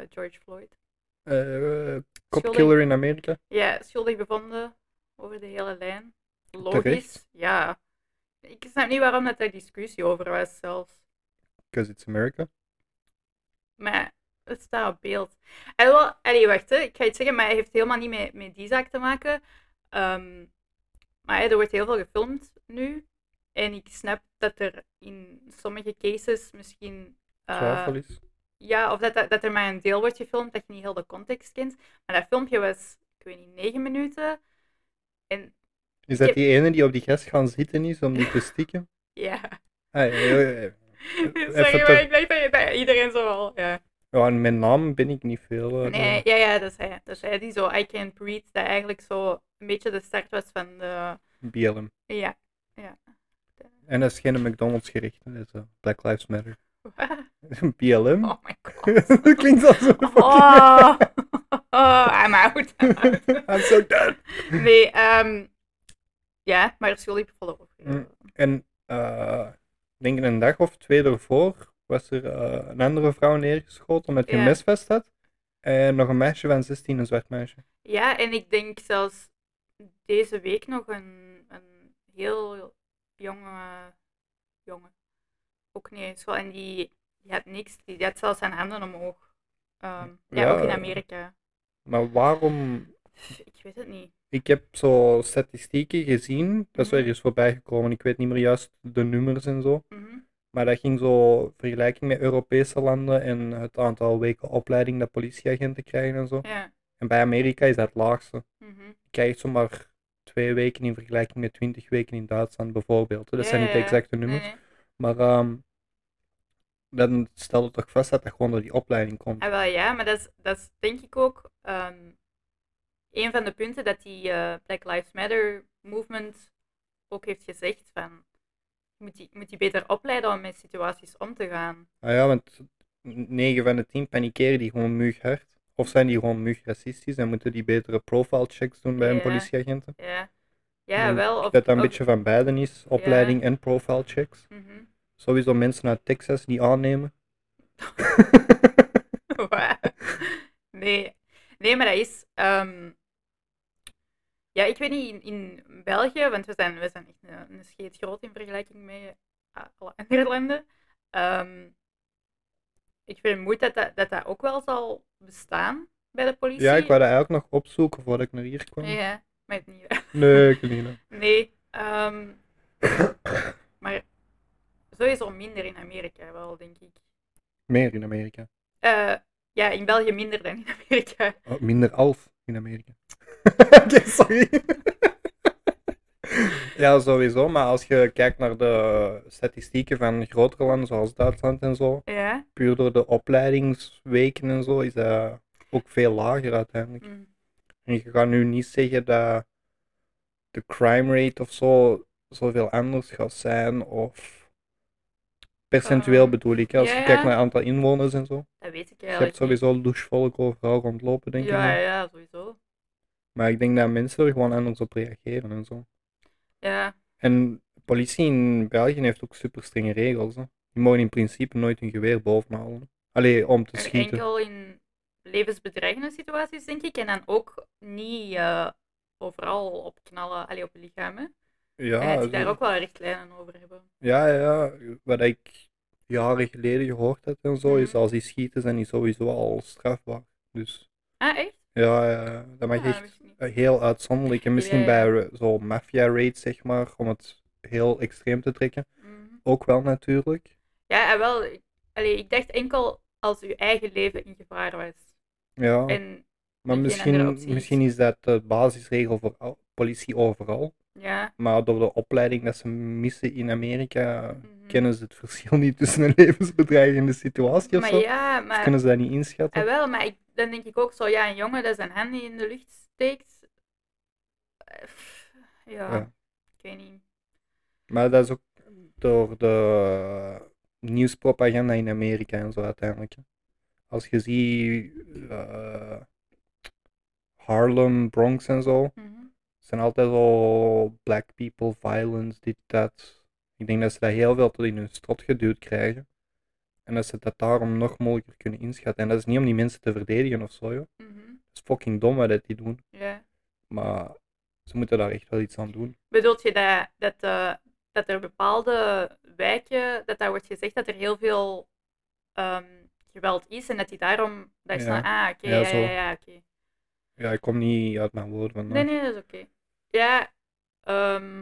Speaker 1: eh, George Floyd.
Speaker 2: eh,
Speaker 1: Schuldig.
Speaker 2: cop killer in Amerika.
Speaker 1: Ja, schuldig bevonden over de hele lijn. Logisch,
Speaker 2: Terecht.
Speaker 1: ja. Ik snap niet waarom dat daar discussie over was zelfs.
Speaker 2: Because it's America.
Speaker 1: Maar het staat op beeld. En wel, allee, wacht, hè. ik ga iets zeggen, maar hij heeft helemaal niet met, met die zaak te maken. Ehm, maar hè, er wordt heel veel gefilmd nu. En ik snap dat er in sommige cases misschien. eh,
Speaker 2: Twijfel is.
Speaker 1: ja, of dat, dat, dat er maar een deel wordt gefilmd dat je niet heel de context kent. Maar dat filmpje was, ik weet niet, negen minuten. En
Speaker 2: Is
Speaker 1: ik-
Speaker 2: dat die ene die op die gast gaan zitten is om die te stikken?
Speaker 1: ja.
Speaker 2: Ah, ja, ja, ja.
Speaker 1: Sorry,
Speaker 2: ter-
Speaker 1: maar ik dacht dat, je- dat iedereen zo al. Ja.
Speaker 2: Ja, en mijn naam ben ik niet veel. eh,
Speaker 1: Nee, ja, ja, dat is hij. Dat is hij die zo I Can't Breathe, dat eigenlijk zo een beetje de start was van de...
Speaker 2: BLM.
Speaker 1: Ja.
Speaker 2: En dat is geen McDonald's gericht. Dat is, eh, Black Lives Matter. BLM?
Speaker 1: Oh my god.
Speaker 2: dat klinkt als een
Speaker 1: Oh, oh I'm out. I'm out.
Speaker 2: I'm so dead.
Speaker 1: Nee, ehm ja, maar schuldig bevonden ook.
Speaker 2: Mm. En eh, ik denk een dag of twee ervoor was er eh, een andere vrouw neergeschoten omdat je
Speaker 1: Ja.
Speaker 2: een mesvest had. En nog een meisje van 16, een zwart meisje.
Speaker 1: Ja, en ik denk zelfs deze week nog een, een heel jonge jongen. Ook niet zo. En die, die had niks. Die, die had zelfs zijn handen omhoog. Ehm, ja,
Speaker 2: Ja.
Speaker 1: ook in Amerika.
Speaker 2: Maar waarom?
Speaker 1: Pff, Ik weet het niet.
Speaker 2: Ik heb zo statistieken gezien, dat is wel
Speaker 1: Mhm.
Speaker 2: ergens voorbij gekomen. Ik weet niet meer juist de nummers en zo.
Speaker 1: Mhm.
Speaker 2: Maar dat ging zo vergelijking met Europese landen en het aantal weken opleiding dat politieagenten krijgen en zo.
Speaker 1: Ja.
Speaker 2: En bij Amerika is dat het laagste.
Speaker 1: Mhm.
Speaker 2: krijgt zomaar twee weken in vergelijking met twintig weken in Duitsland bijvoorbeeld. Dat
Speaker 1: Ja,
Speaker 2: zijn niet de
Speaker 1: ja, ja.
Speaker 2: exacte
Speaker 1: Nee,
Speaker 2: nummers.
Speaker 1: nee.
Speaker 2: Maar ehm, dan stel je toch vast dat dat gewoon door die opleiding komt.
Speaker 1: Ah, wel ja, maar dat is, dat is denk ik ook ehm, een van de punten dat die eh, Black Lives Matter movement ook heeft gezegd van je moet die, je moet die beter opleiden om met situaties om te gaan.
Speaker 2: Ah ja, want 9 van de 10 panikeren die gewoon mughard. Of zijn die gewoon mugracistisch en moeten die betere profile checks doen bij
Speaker 1: Ja.
Speaker 2: hun politieagenten?
Speaker 1: Ja, ja
Speaker 2: En
Speaker 1: wel. Of,
Speaker 2: Dat dat een
Speaker 1: of-
Speaker 2: beetje van beiden is, opleiding en profile checks.
Speaker 1: Mhm.
Speaker 2: Sowieso mensen uit Texas niet aannemen.
Speaker 1: Waar? nee. nee, maar dat is. ehm, ja, ik weet niet, in, in België, want we zijn, we zijn echt een, een scheet groot in vergelijking met eh, alle andere landen. Ehm, ik vermoed dat dat, dat dat ook wel zal bestaan bij de politie.
Speaker 2: Ja, ik wou dat eigenlijk nog opzoeken voordat ik naar hier kwam.
Speaker 1: Ja, maar het niet.
Speaker 2: Nee, ik weet niet.
Speaker 1: Nee, ehm, Maar sowieso minder in Amerika wel, denk ik.
Speaker 2: Meer in Amerika.
Speaker 1: Eh, ja, in België minder dan in Amerika.
Speaker 2: Oh, minder alf in Amerika. Oké, sorry. ja, sowieso. Maar als je kijkt naar de statistieken van grotere landen zoals Duitsland en zo,
Speaker 1: Ja.
Speaker 2: puur door de opleidingsweken en zo, is dat ook veel lager uiteindelijk.
Speaker 1: mm.
Speaker 2: En je gaat nu niet zeggen dat de crime rate of zo zoveel anders gaat zijn of percentueel
Speaker 1: Ehm,
Speaker 2: bedoel ik. hè, Als
Speaker 1: ja,
Speaker 2: je
Speaker 1: ja.
Speaker 2: kijkt naar het aantal inwoners en zo.
Speaker 1: Dat weet ik
Speaker 2: Je hebt
Speaker 1: eigenlijk niet.
Speaker 2: sowieso douchevolk overal rondlopen, denk ik.
Speaker 1: ja,
Speaker 2: maar-
Speaker 1: ja, sowieso.
Speaker 2: Maar ik denk dat mensen er gewoon anders op reageren en zo.
Speaker 1: Ja.
Speaker 2: En politie in België heeft ook super strenge regels. Hè. Je mag in principe nooit een geweer boven houden. Allee, om te
Speaker 1: En
Speaker 2: schieten.
Speaker 1: enkel in levensbedreigende situaties, denk ik. En dan ook niet eh, overal op knallen, allee, op lichamen.
Speaker 2: Ja, dus
Speaker 1: en dat ze
Speaker 2: zo-
Speaker 1: daar ook wel richtlijnen over hebben.
Speaker 2: Ja, ja, wat ik jaren geleden gehoord heb en zo, is
Speaker 1: Mhm.
Speaker 2: als die schieten zijn die sowieso al strafbaar. Dus
Speaker 1: Ah, echt?
Speaker 2: ja, ja, dat mag
Speaker 1: Ah, dat
Speaker 2: echt
Speaker 1: wist ik niet.
Speaker 2: heel uitzonderlijk. En misschien
Speaker 1: Ja, ja.
Speaker 2: bij eh, zo'n maffia-raid, zeg maar, om het heel extreem te trekken.
Speaker 1: Mhm.
Speaker 2: Ook wel natuurlijk.
Speaker 1: Ja, en wel. ik- Allee, ik dacht enkel als uw eigen leven in gevaar was. En
Speaker 2: Ja, maar
Speaker 1: geen andere
Speaker 2: misschien,
Speaker 1: optie is.
Speaker 2: misschien is dat de basisregel voor al- politie overal.
Speaker 1: ja.
Speaker 2: Maar door de opleiding dat ze missen in Amerika,
Speaker 1: mhm.
Speaker 2: kennen ze het verschil niet tussen een levensbedreigende situatie of
Speaker 1: Maar
Speaker 2: zo.
Speaker 1: ja,
Speaker 2: Of
Speaker 1: maar.
Speaker 2: kunnen ze dat niet inschatten?
Speaker 1: En Eh, wel, maar ik, dan denk ik ook zo, ja, een jongen dat zijn hand niet in de lucht steekt. eh, pff, Ja,
Speaker 2: Ja.
Speaker 1: ik weet niet.
Speaker 2: Maar dat is ook door de eh, nieuwspropaganda in Amerika en zo uiteindelijk. hè. Als je ziet eh, Harlem, Bronx en zo,
Speaker 1: Mhm.
Speaker 2: zijn altijd al black people, violence, dit, dat. Ik denk dat ze dat heel veel tot in hun strot geduwd krijgen. En dat ze dat daarom nog moeilijker kunnen inschatten. En dat is niet om die mensen te verdedigen of zo, joh.
Speaker 1: mhm,
Speaker 2: Dat is fucking dom wat dat die doen.
Speaker 1: Ja.
Speaker 2: Maar ze moeten daar echt wel iets aan doen.
Speaker 1: Bedoelt je dat, dat, eh, dat er bepaalde wijken, dat daar wordt gezegd dat er heel veel ehm, geweld is en dat die daarom, dat is
Speaker 2: Ja.
Speaker 1: dan, ah, oké,
Speaker 2: Ja,
Speaker 1: ja,
Speaker 2: zo.
Speaker 1: ja, ja, oké.
Speaker 2: Ja, ik kom niet uit mijn woorden vandaag.
Speaker 1: Nee, nee, dat is oké. Ja, ehm,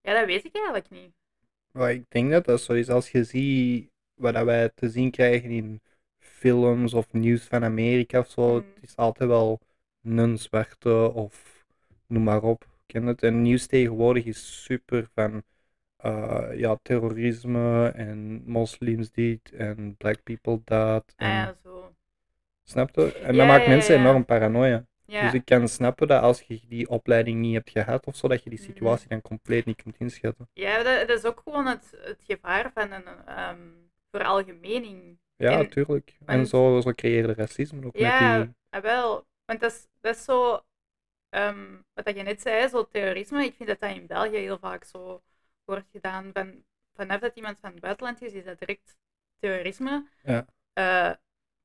Speaker 1: ja, dat weet ik eigenlijk niet.
Speaker 2: Maar ik denk dat dat zo is. Als je ziet wat dat wij te zien krijgen in films of nieuws van Amerika of zo,
Speaker 1: Mhm.
Speaker 2: het is altijd wel een zwarte of noem maar op. Ken het? En nieuws tegenwoordig is super van eh, ja, terrorisme en moslims dit en black people dat.
Speaker 1: Ah,
Speaker 2: En,
Speaker 1: ja, zo.
Speaker 2: Snap je? En
Speaker 1: Ja,
Speaker 2: dat maakt
Speaker 1: ja,
Speaker 2: mensen
Speaker 1: ja.
Speaker 2: enorm paranoia.
Speaker 1: Ja.
Speaker 2: Dus ik kan snappen dat als je die opleiding niet hebt gehad of zo, dat je die
Speaker 1: Mhm.
Speaker 2: situatie dan compleet niet kunt inschatten.
Speaker 1: Ja, dat, dat is ook gewoon het, het gevaar van een ehm veralgemening.
Speaker 2: Ja,
Speaker 1: En-
Speaker 2: tuurlijk. En
Speaker 1: want-
Speaker 2: zo, zo creëer je racisme ook
Speaker 1: Ja,
Speaker 2: met die...
Speaker 1: ah, wel. Want dat is, dat is zo, ehm, wat dat je net zei, zo terrorisme. Ik vind dat dat in België heel vaak zo wordt gedaan. Van, vanaf dat iemand van het buitenland is, is dat direct terrorisme.
Speaker 2: Ja.
Speaker 1: Eh,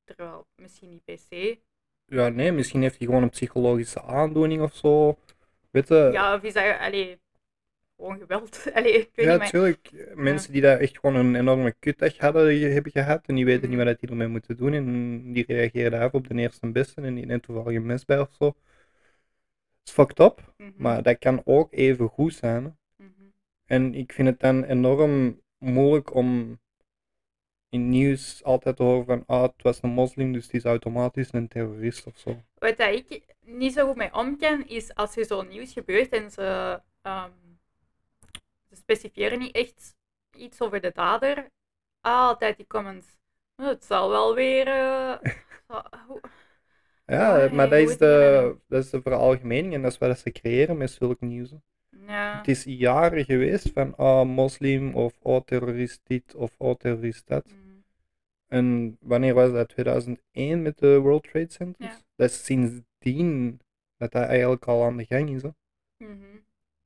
Speaker 1: terwijl misschien niet per se.
Speaker 2: Ja, nee, misschien heeft hij gewoon een psychologische aandoening of zo. Weet je?
Speaker 1: Ja, of is dat, allee, gewoon geweld. Allee, ik weet
Speaker 2: Ja,
Speaker 1: niet, maar
Speaker 2: natuurlijk. Mensen die daar echt gewoon een enorme kutdag hadden, die hebben gehad en die weten niet
Speaker 1: Mhm.
Speaker 2: wat die ermee moeten doen en die reageren daarop op de eerste en beste en die neemt toevallig een mes bij of zo. Dat is fucked up,
Speaker 1: Mhm,
Speaker 2: maar dat kan ook even goed zijn. hè.
Speaker 1: mhm.
Speaker 2: En ik vind het dan enorm moeilijk om in nieuws altijd te horen van, ah, het was een moslim, dus die is automatisch een terrorist of zo.
Speaker 1: Wat dat ik niet zo goed mee om kan, is als er zo'n nieuws gebeurt en ze, ehm, ze specifieren niet echt iets over de dader, altijd die comments. "Nou, Het zal wel weer. eh, zo- hoe-
Speaker 2: Ja,
Speaker 1: Ja, hey,
Speaker 2: maar dat
Speaker 1: hoe
Speaker 2: is,
Speaker 1: het hier
Speaker 2: de,
Speaker 1: dan-
Speaker 2: dat is de veralgemening en dat is wat ze creëren met zulk nieuws. hè.
Speaker 1: ja.
Speaker 2: Het is jaren geweest van ah, moslim of oh, terrorist dit of oh, terrorist dat.
Speaker 1: Mm.
Speaker 2: En wanneer was dat? 2001 met de World Trade Centers?
Speaker 1: Ja.
Speaker 2: Dat is sindsdien dat dat eigenlijk al aan de gang is. Hè.
Speaker 1: Mhm.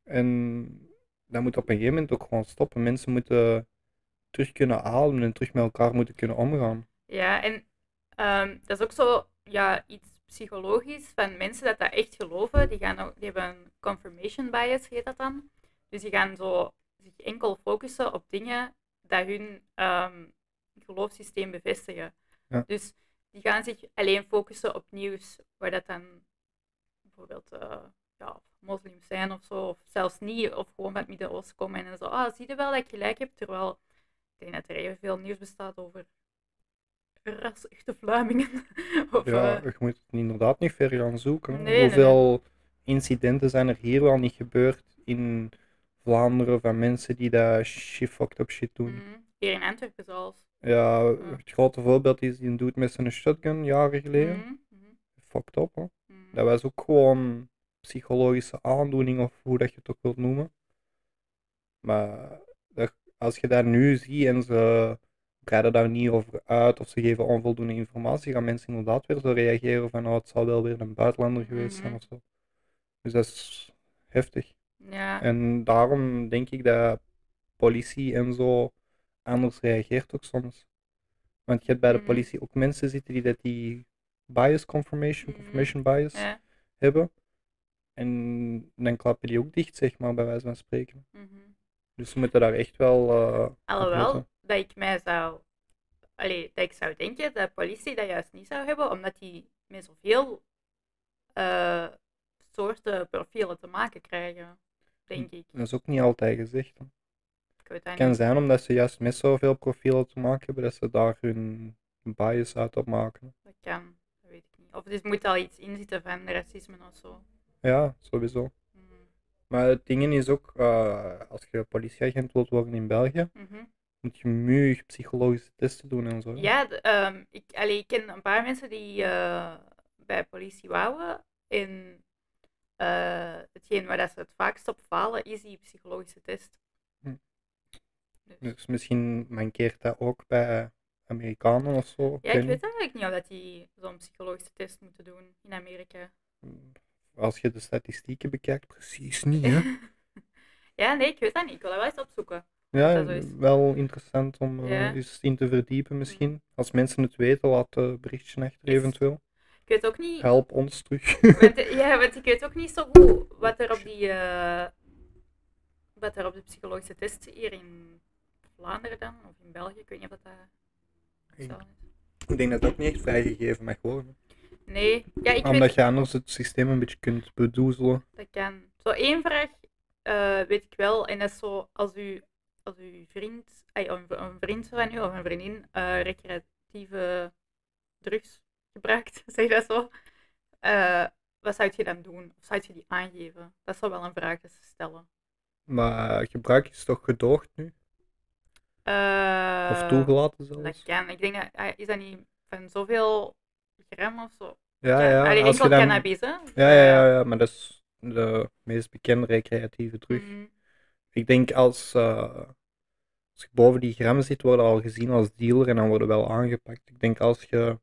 Speaker 2: En dat moet op een gegeven moment ook gewoon stoppen. Mensen moeten terug kunnen ademen en terug met elkaar moeten kunnen omgaan.
Speaker 1: Ja, en ehm, dat is ook zo ja, iets psychologisch van mensen dat dat echt geloven. Die, gaan ook, die hebben een confirmation bias, heet dat dan. Dus die gaan zo zich enkel focussen op dingen dat hun ehm, geloofssysteem bevestigen.
Speaker 2: Ja.
Speaker 1: Dus die gaan zich alleen focussen op nieuws waar dat dan bijvoorbeeld eh, ja, moslims zijn of zo, of zelfs niet, of gewoon met het Midden-Oosten komen en zo, ah, zie je wel dat ik gelijk heb, terwijl ik denk dat er evenveel nieuws bestaat over rassige Vlamingen. of,
Speaker 2: Ja,
Speaker 1: eh,
Speaker 2: je moet het inderdaad niet ver gaan zoeken.
Speaker 1: Nee, nee,
Speaker 2: Hoeveel incidenten zijn er hier wel niet gebeurd in Vlaanderen van mensen die daar shit fucked up shit doen?
Speaker 1: mhm. hier in Antwerpen zelfs.
Speaker 2: Ja,
Speaker 1: Mm.
Speaker 2: het grote voorbeeld is die doet met zijn shotgun jaren geleden.
Speaker 1: Mhm, mhm,
Speaker 2: Fucked up, hoor.
Speaker 1: mhm.
Speaker 2: Dat was ook gewoon psychologische aandoening of hoe dat je het ook wilt noemen. Maar dat- als je daar nu ziet en ze breiden daar niet over uit of ze geven onvoldoende informatie, gaan mensen inderdaad weer zo reageren van oh, het zal wel weer een buitenlander geweest zijn
Speaker 1: Mhm.
Speaker 2: of zo. Dus dat is heftig.
Speaker 1: Ja,
Speaker 2: En daarom denk ik dat politie en zo anders reageert ook soms. Want je hebt bij de
Speaker 1: Mhm.
Speaker 2: politie ook mensen zitten die dat die bias confirmation,
Speaker 1: Mhm.
Speaker 2: confirmation bias
Speaker 1: ja.
Speaker 2: hebben. En dan klappen die ook dicht, zeg maar, bij wijze van spreken.
Speaker 1: mhm.
Speaker 2: Dus ze moeten daar echt wel. eh, op
Speaker 1: Alhoewel
Speaker 2: letten.
Speaker 1: dat ik mij zou. Allee, dat ik zou denken dat de politie dat juist niet zou hebben, omdat die met zoveel eh, soorten profielen te maken krijgen, denk ik.
Speaker 2: Dat is ook niet altijd gezegd. hè.
Speaker 1: Ik weet
Speaker 2: Het
Speaker 1: dat
Speaker 2: kan
Speaker 1: niet.
Speaker 2: zijn omdat ze juist met zoveel profielen te maken hebben dat ze daar hun bias uit opmaken.
Speaker 1: Dat kan, dat weet ik niet. Of dus moet al iets inzitten van racisme of zo.
Speaker 2: Ja, sowieso.
Speaker 1: Mm.
Speaker 2: Maar het ding is ook, eh, als je politieagent wilt worden in België,
Speaker 1: Mhm.
Speaker 2: moet je muur psychologische testen doen en zo. hè.
Speaker 1: Ja, de- ehm, ik, allee, ik ken een paar mensen die eh, bij politie wouden. En eh, hetgeen waar dat ze het vaakst op falen is die psychologische test.
Speaker 2: Hm.
Speaker 1: Dus-
Speaker 2: Dus misschien mankeert dat ook bij Amerikanen of zo.
Speaker 1: Ja,
Speaker 2: weet
Speaker 1: ik
Speaker 2: niet.
Speaker 1: weet eigenlijk niet of dat die zo'n psychologische test moeten doen in Amerika.
Speaker 2: Als je de statistieken bekijkt, precies niet. Hè?
Speaker 1: ja, nee, ik weet dat niet. Ik wil dat wel eens opzoeken.
Speaker 2: Ja,
Speaker 1: Dat zo is.
Speaker 2: wel interessant om eh,
Speaker 1: Ja. Mm.
Speaker 2: eens in te verdiepen misschien. Als mensen het weten, laat een berichtje achter
Speaker 1: Yes.
Speaker 2: eventueel.
Speaker 1: Ik weet ook niet
Speaker 2: Help ons terug.
Speaker 1: Want, eh, ja, want ik weet ook niet zo goed wat er op die. eh, wat er op de psychologische test hier in Vlaanderen dan, of in België, ik weet niet of dat
Speaker 2: Ik-
Speaker 1: zo is.
Speaker 2: ik denk dat het ook niet echt vrijgegeven mag worden.
Speaker 1: Nee, ja, ik
Speaker 2: Omdat
Speaker 1: weet
Speaker 2: je anders het systeem een beetje kunt bedoezelen.
Speaker 1: dat kan. Zo één vraag eh, weet ik wel, en dat is zo als u, als uw vriend, ay, een, v- een vriend van u of een vriendin eh, recreatieve drugs gebruikt, zeg je dat zo, eh, wat zou je dan doen? Of zou je die aangeven? Dat zou wel een vraag is te stellen.
Speaker 2: Maar gebruik is toch gedoogd nu?
Speaker 1: Eh,
Speaker 2: Of
Speaker 1: Dat
Speaker 2: toegelaten zelfs?
Speaker 1: kan. Ik denk dat ah, is dat niet van zoveel gram of zo.
Speaker 2: Ja,
Speaker 1: Allee,
Speaker 2: ja. Als
Speaker 1: enkel
Speaker 2: je dan...
Speaker 1: cannabis, hè?
Speaker 2: ja, ja, ja, ja, maar dat is de meest bekende recreatieve drug.
Speaker 1: Mhm.
Speaker 2: Ik denk als, eh, als je boven die gram zit, worden al gezien als dealer en dan worden wel aangepakt. Ik denk als je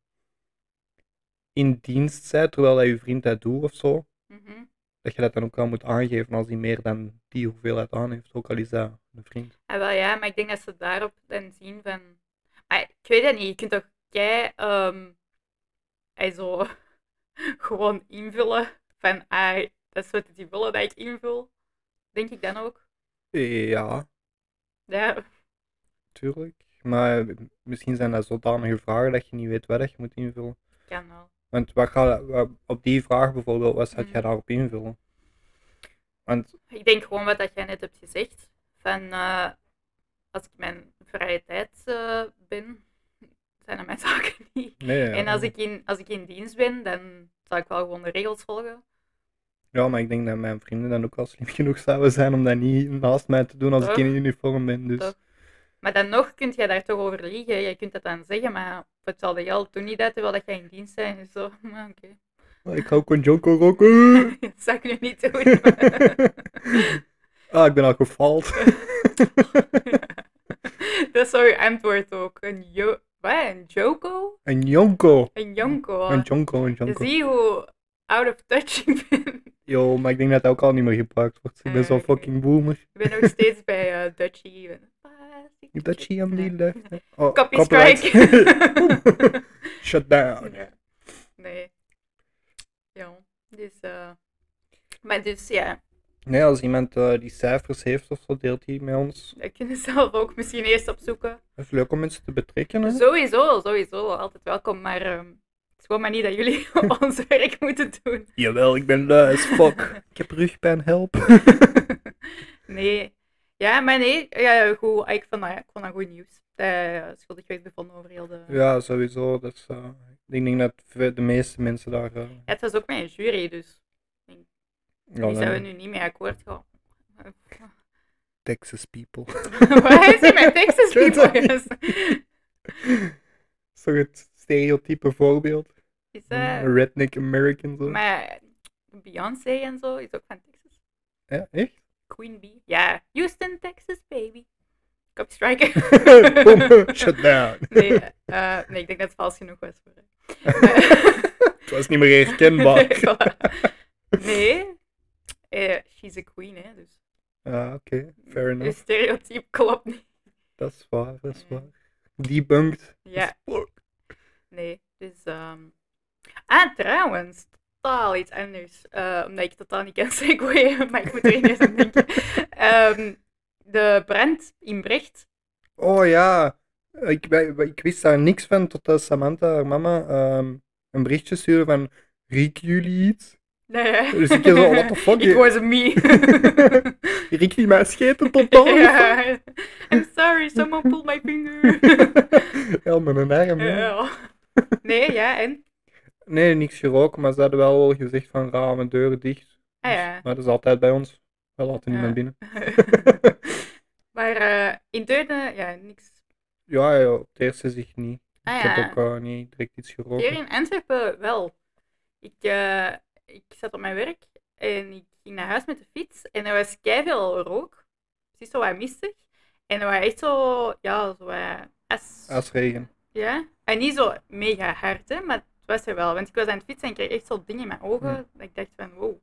Speaker 2: in dienst bent, terwijl dat je vriend dat doet of zo,
Speaker 1: mhm.
Speaker 2: dat je dat dan ook wel moet aangeven als hij meer dan die hoeveelheid aan heeft, ook al is dat een vriend.
Speaker 1: Ah, wel ja, maar ik denk dat ze daarop dan zien van. Ah, ik weet dat niet. Je kunt toch kei. ehm, ah, zo gewoon invullen van. Ah, dat is wat die willen dat ik invul. Denk ik dan ook.
Speaker 2: Ja,
Speaker 1: Ja.
Speaker 2: tuurlijk. Maar misschien zijn dat zodanige vragen dat je niet weet wat je moet invullen.
Speaker 1: Kan wel.
Speaker 2: Want wat ga, wat- op die vraag bijvoorbeeld, wat zou jij
Speaker 1: Mhm.
Speaker 2: daarop invullen? Want
Speaker 1: Ik denk gewoon wat dat jij net hebt gezegd. Van eh, als ik mijn vrije tijd eh, ben, zijn dat mijn zaken niet.
Speaker 2: nee, ja.
Speaker 1: En als ik, in, als ik in dienst ben, dan zal ik wel gewoon de regels volgen.
Speaker 2: Ja, maar ik denk dat mijn vrienden dan ook wel slim genoeg zouden zijn om dat niet naast mij te doen als ik
Speaker 1: Toch?
Speaker 2: in uniform ben. Dus
Speaker 1: Toch? Maar dan nog kun jij daar toch over liegen. Je kunt dat dan zeggen, maar voor hetzelfde geld doe niet dat terwijl dat jij in dienst bent. Dus zo, maar oké.
Speaker 2: Maar ik ga ook een jonko roken.
Speaker 1: Dat zou ik nu niet doen.
Speaker 2: ah, ik ben al gefaald.
Speaker 1: dat is zo'n antwoord ook. Een, jo wat? een Joko?
Speaker 2: een jonko.
Speaker 1: Een Jonko?
Speaker 2: Een jonko, een
Speaker 1: Je
Speaker 2: jonko.
Speaker 1: ziet hoe out of touch ik ben.
Speaker 2: Yo, maar ik denk dat dat ook al niet meer gebruikt wordt. Ik ben
Speaker 1: Ah,
Speaker 2: zo
Speaker 1: oké.
Speaker 2: fucking boomer.
Speaker 1: Ik ben nog steeds bij eh Dutchie.
Speaker 2: Dat zie je hem
Speaker 1: Ja.
Speaker 2: niet leuk. Oh,
Speaker 1: Copy
Speaker 2: copyright.
Speaker 1: strike.
Speaker 2: Shut down.
Speaker 1: Ja. Nee. Ja, dus... eh, Maar dus, ja,
Speaker 2: Nee, als iemand eh, die cijfers heeft of zo, deelt hij met ons.
Speaker 1: dat kunnen ze zelf ook misschien eerst opzoeken.
Speaker 2: Het is leuk om mensen te betrekken. Hè?
Speaker 1: Sowieso, sowieso, altijd welkom, maar ehm, ik is gewoon maar niet dat jullie ons werk moeten doen.
Speaker 2: Jawel, ik ben lui as fuck. ik heb rugpijn, help.
Speaker 1: nee. Ja, maar nee, ja, goed. Ik vond dat, ik vond dat goed nieuws. Dat schuldig werd bevonden over heel de...
Speaker 2: ja, sowieso. Dat is, eh, ik denk dat ve- de meeste mensen daar... eh,
Speaker 1: Ja, het was ook met een jury, dus
Speaker 2: ja,
Speaker 1: die
Speaker 2: dan-
Speaker 1: zouden nu niet mee akkoord gaan.
Speaker 2: Texas people.
Speaker 1: Waar is hij met Texas
Speaker 2: Ik weet dat
Speaker 1: people? Is,
Speaker 2: Zo het stereotype voorbeeld.
Speaker 1: is, eh,
Speaker 2: Redneck American zo.
Speaker 1: maar Beyoncé en zo is ook van Texas.
Speaker 2: Ja, echt?
Speaker 1: Queen Bee. Ja, Houston, Texas, baby. Copy striker.
Speaker 2: Boom, shut down.
Speaker 1: Nee, eh, nee, ik denk dat het vals genoeg was voor hem.
Speaker 2: Het was niet meer herkenbaar.
Speaker 1: Nee, voilà. Nee. Eh, she's a queen, hè. Dus
Speaker 2: Ah, oké. Fair
Speaker 1: je
Speaker 2: enough.
Speaker 1: stereotype klopt niet.
Speaker 2: Dat is waar, dat is
Speaker 1: Nee.
Speaker 2: waar. Debunked.
Speaker 1: Ja,
Speaker 2: Fuck.
Speaker 1: nee. Dus, ehm Ah, trouwens. Totaal iets anders. Eh, omdat ik totaal niet kan segwayen, maar ik moet er ineens aan denken. Ehm, de brand in Brecht.
Speaker 2: Oh ja, ik, wij- wij- ik wist daar niks van totdat Samantha, haar mama, ehm, een berichtje stuurde van... Rieken jullie iets?
Speaker 1: Nee.
Speaker 2: Dus ik zo, what the fuck?
Speaker 1: It was me.
Speaker 2: Rieken die mijn scheten totaal niet?
Speaker 1: Ja. Oh, I'm sorry, someone pulled my finger.
Speaker 2: Ja, met een arm. hè.
Speaker 1: Ja. Nee, ja, en?
Speaker 2: Nee, niks geroken, maar ze hadden wel gezegd van ramen, deuren dicht.
Speaker 1: Ah
Speaker 2: Dus-
Speaker 1: ja.
Speaker 2: Maar dat is altijd bij ons. We laten
Speaker 1: Ja.
Speaker 2: niemand binnen.
Speaker 1: maar eh, in Deurne, ja, niks.
Speaker 2: ja, ja, op het eerste zicht niet.
Speaker 1: Ah
Speaker 2: Ik
Speaker 1: ja.
Speaker 2: heb ook eh, niet direct iets geroken.
Speaker 1: Hier in Antwerpen wel. Ik, eh, ik zat op mijn werk en ik ging naar huis met de fiets en er was keiveel rook. Precies zo wat mistig. En er was echt zo, ja, zo wat as.
Speaker 2: Asregen.
Speaker 1: Ja. En niet zo mega hard, hè, maar het was er wel. Want ik was aan het fietsen en ik kreeg echt zo dingen in mijn ogen. Dat ik dacht van, wow,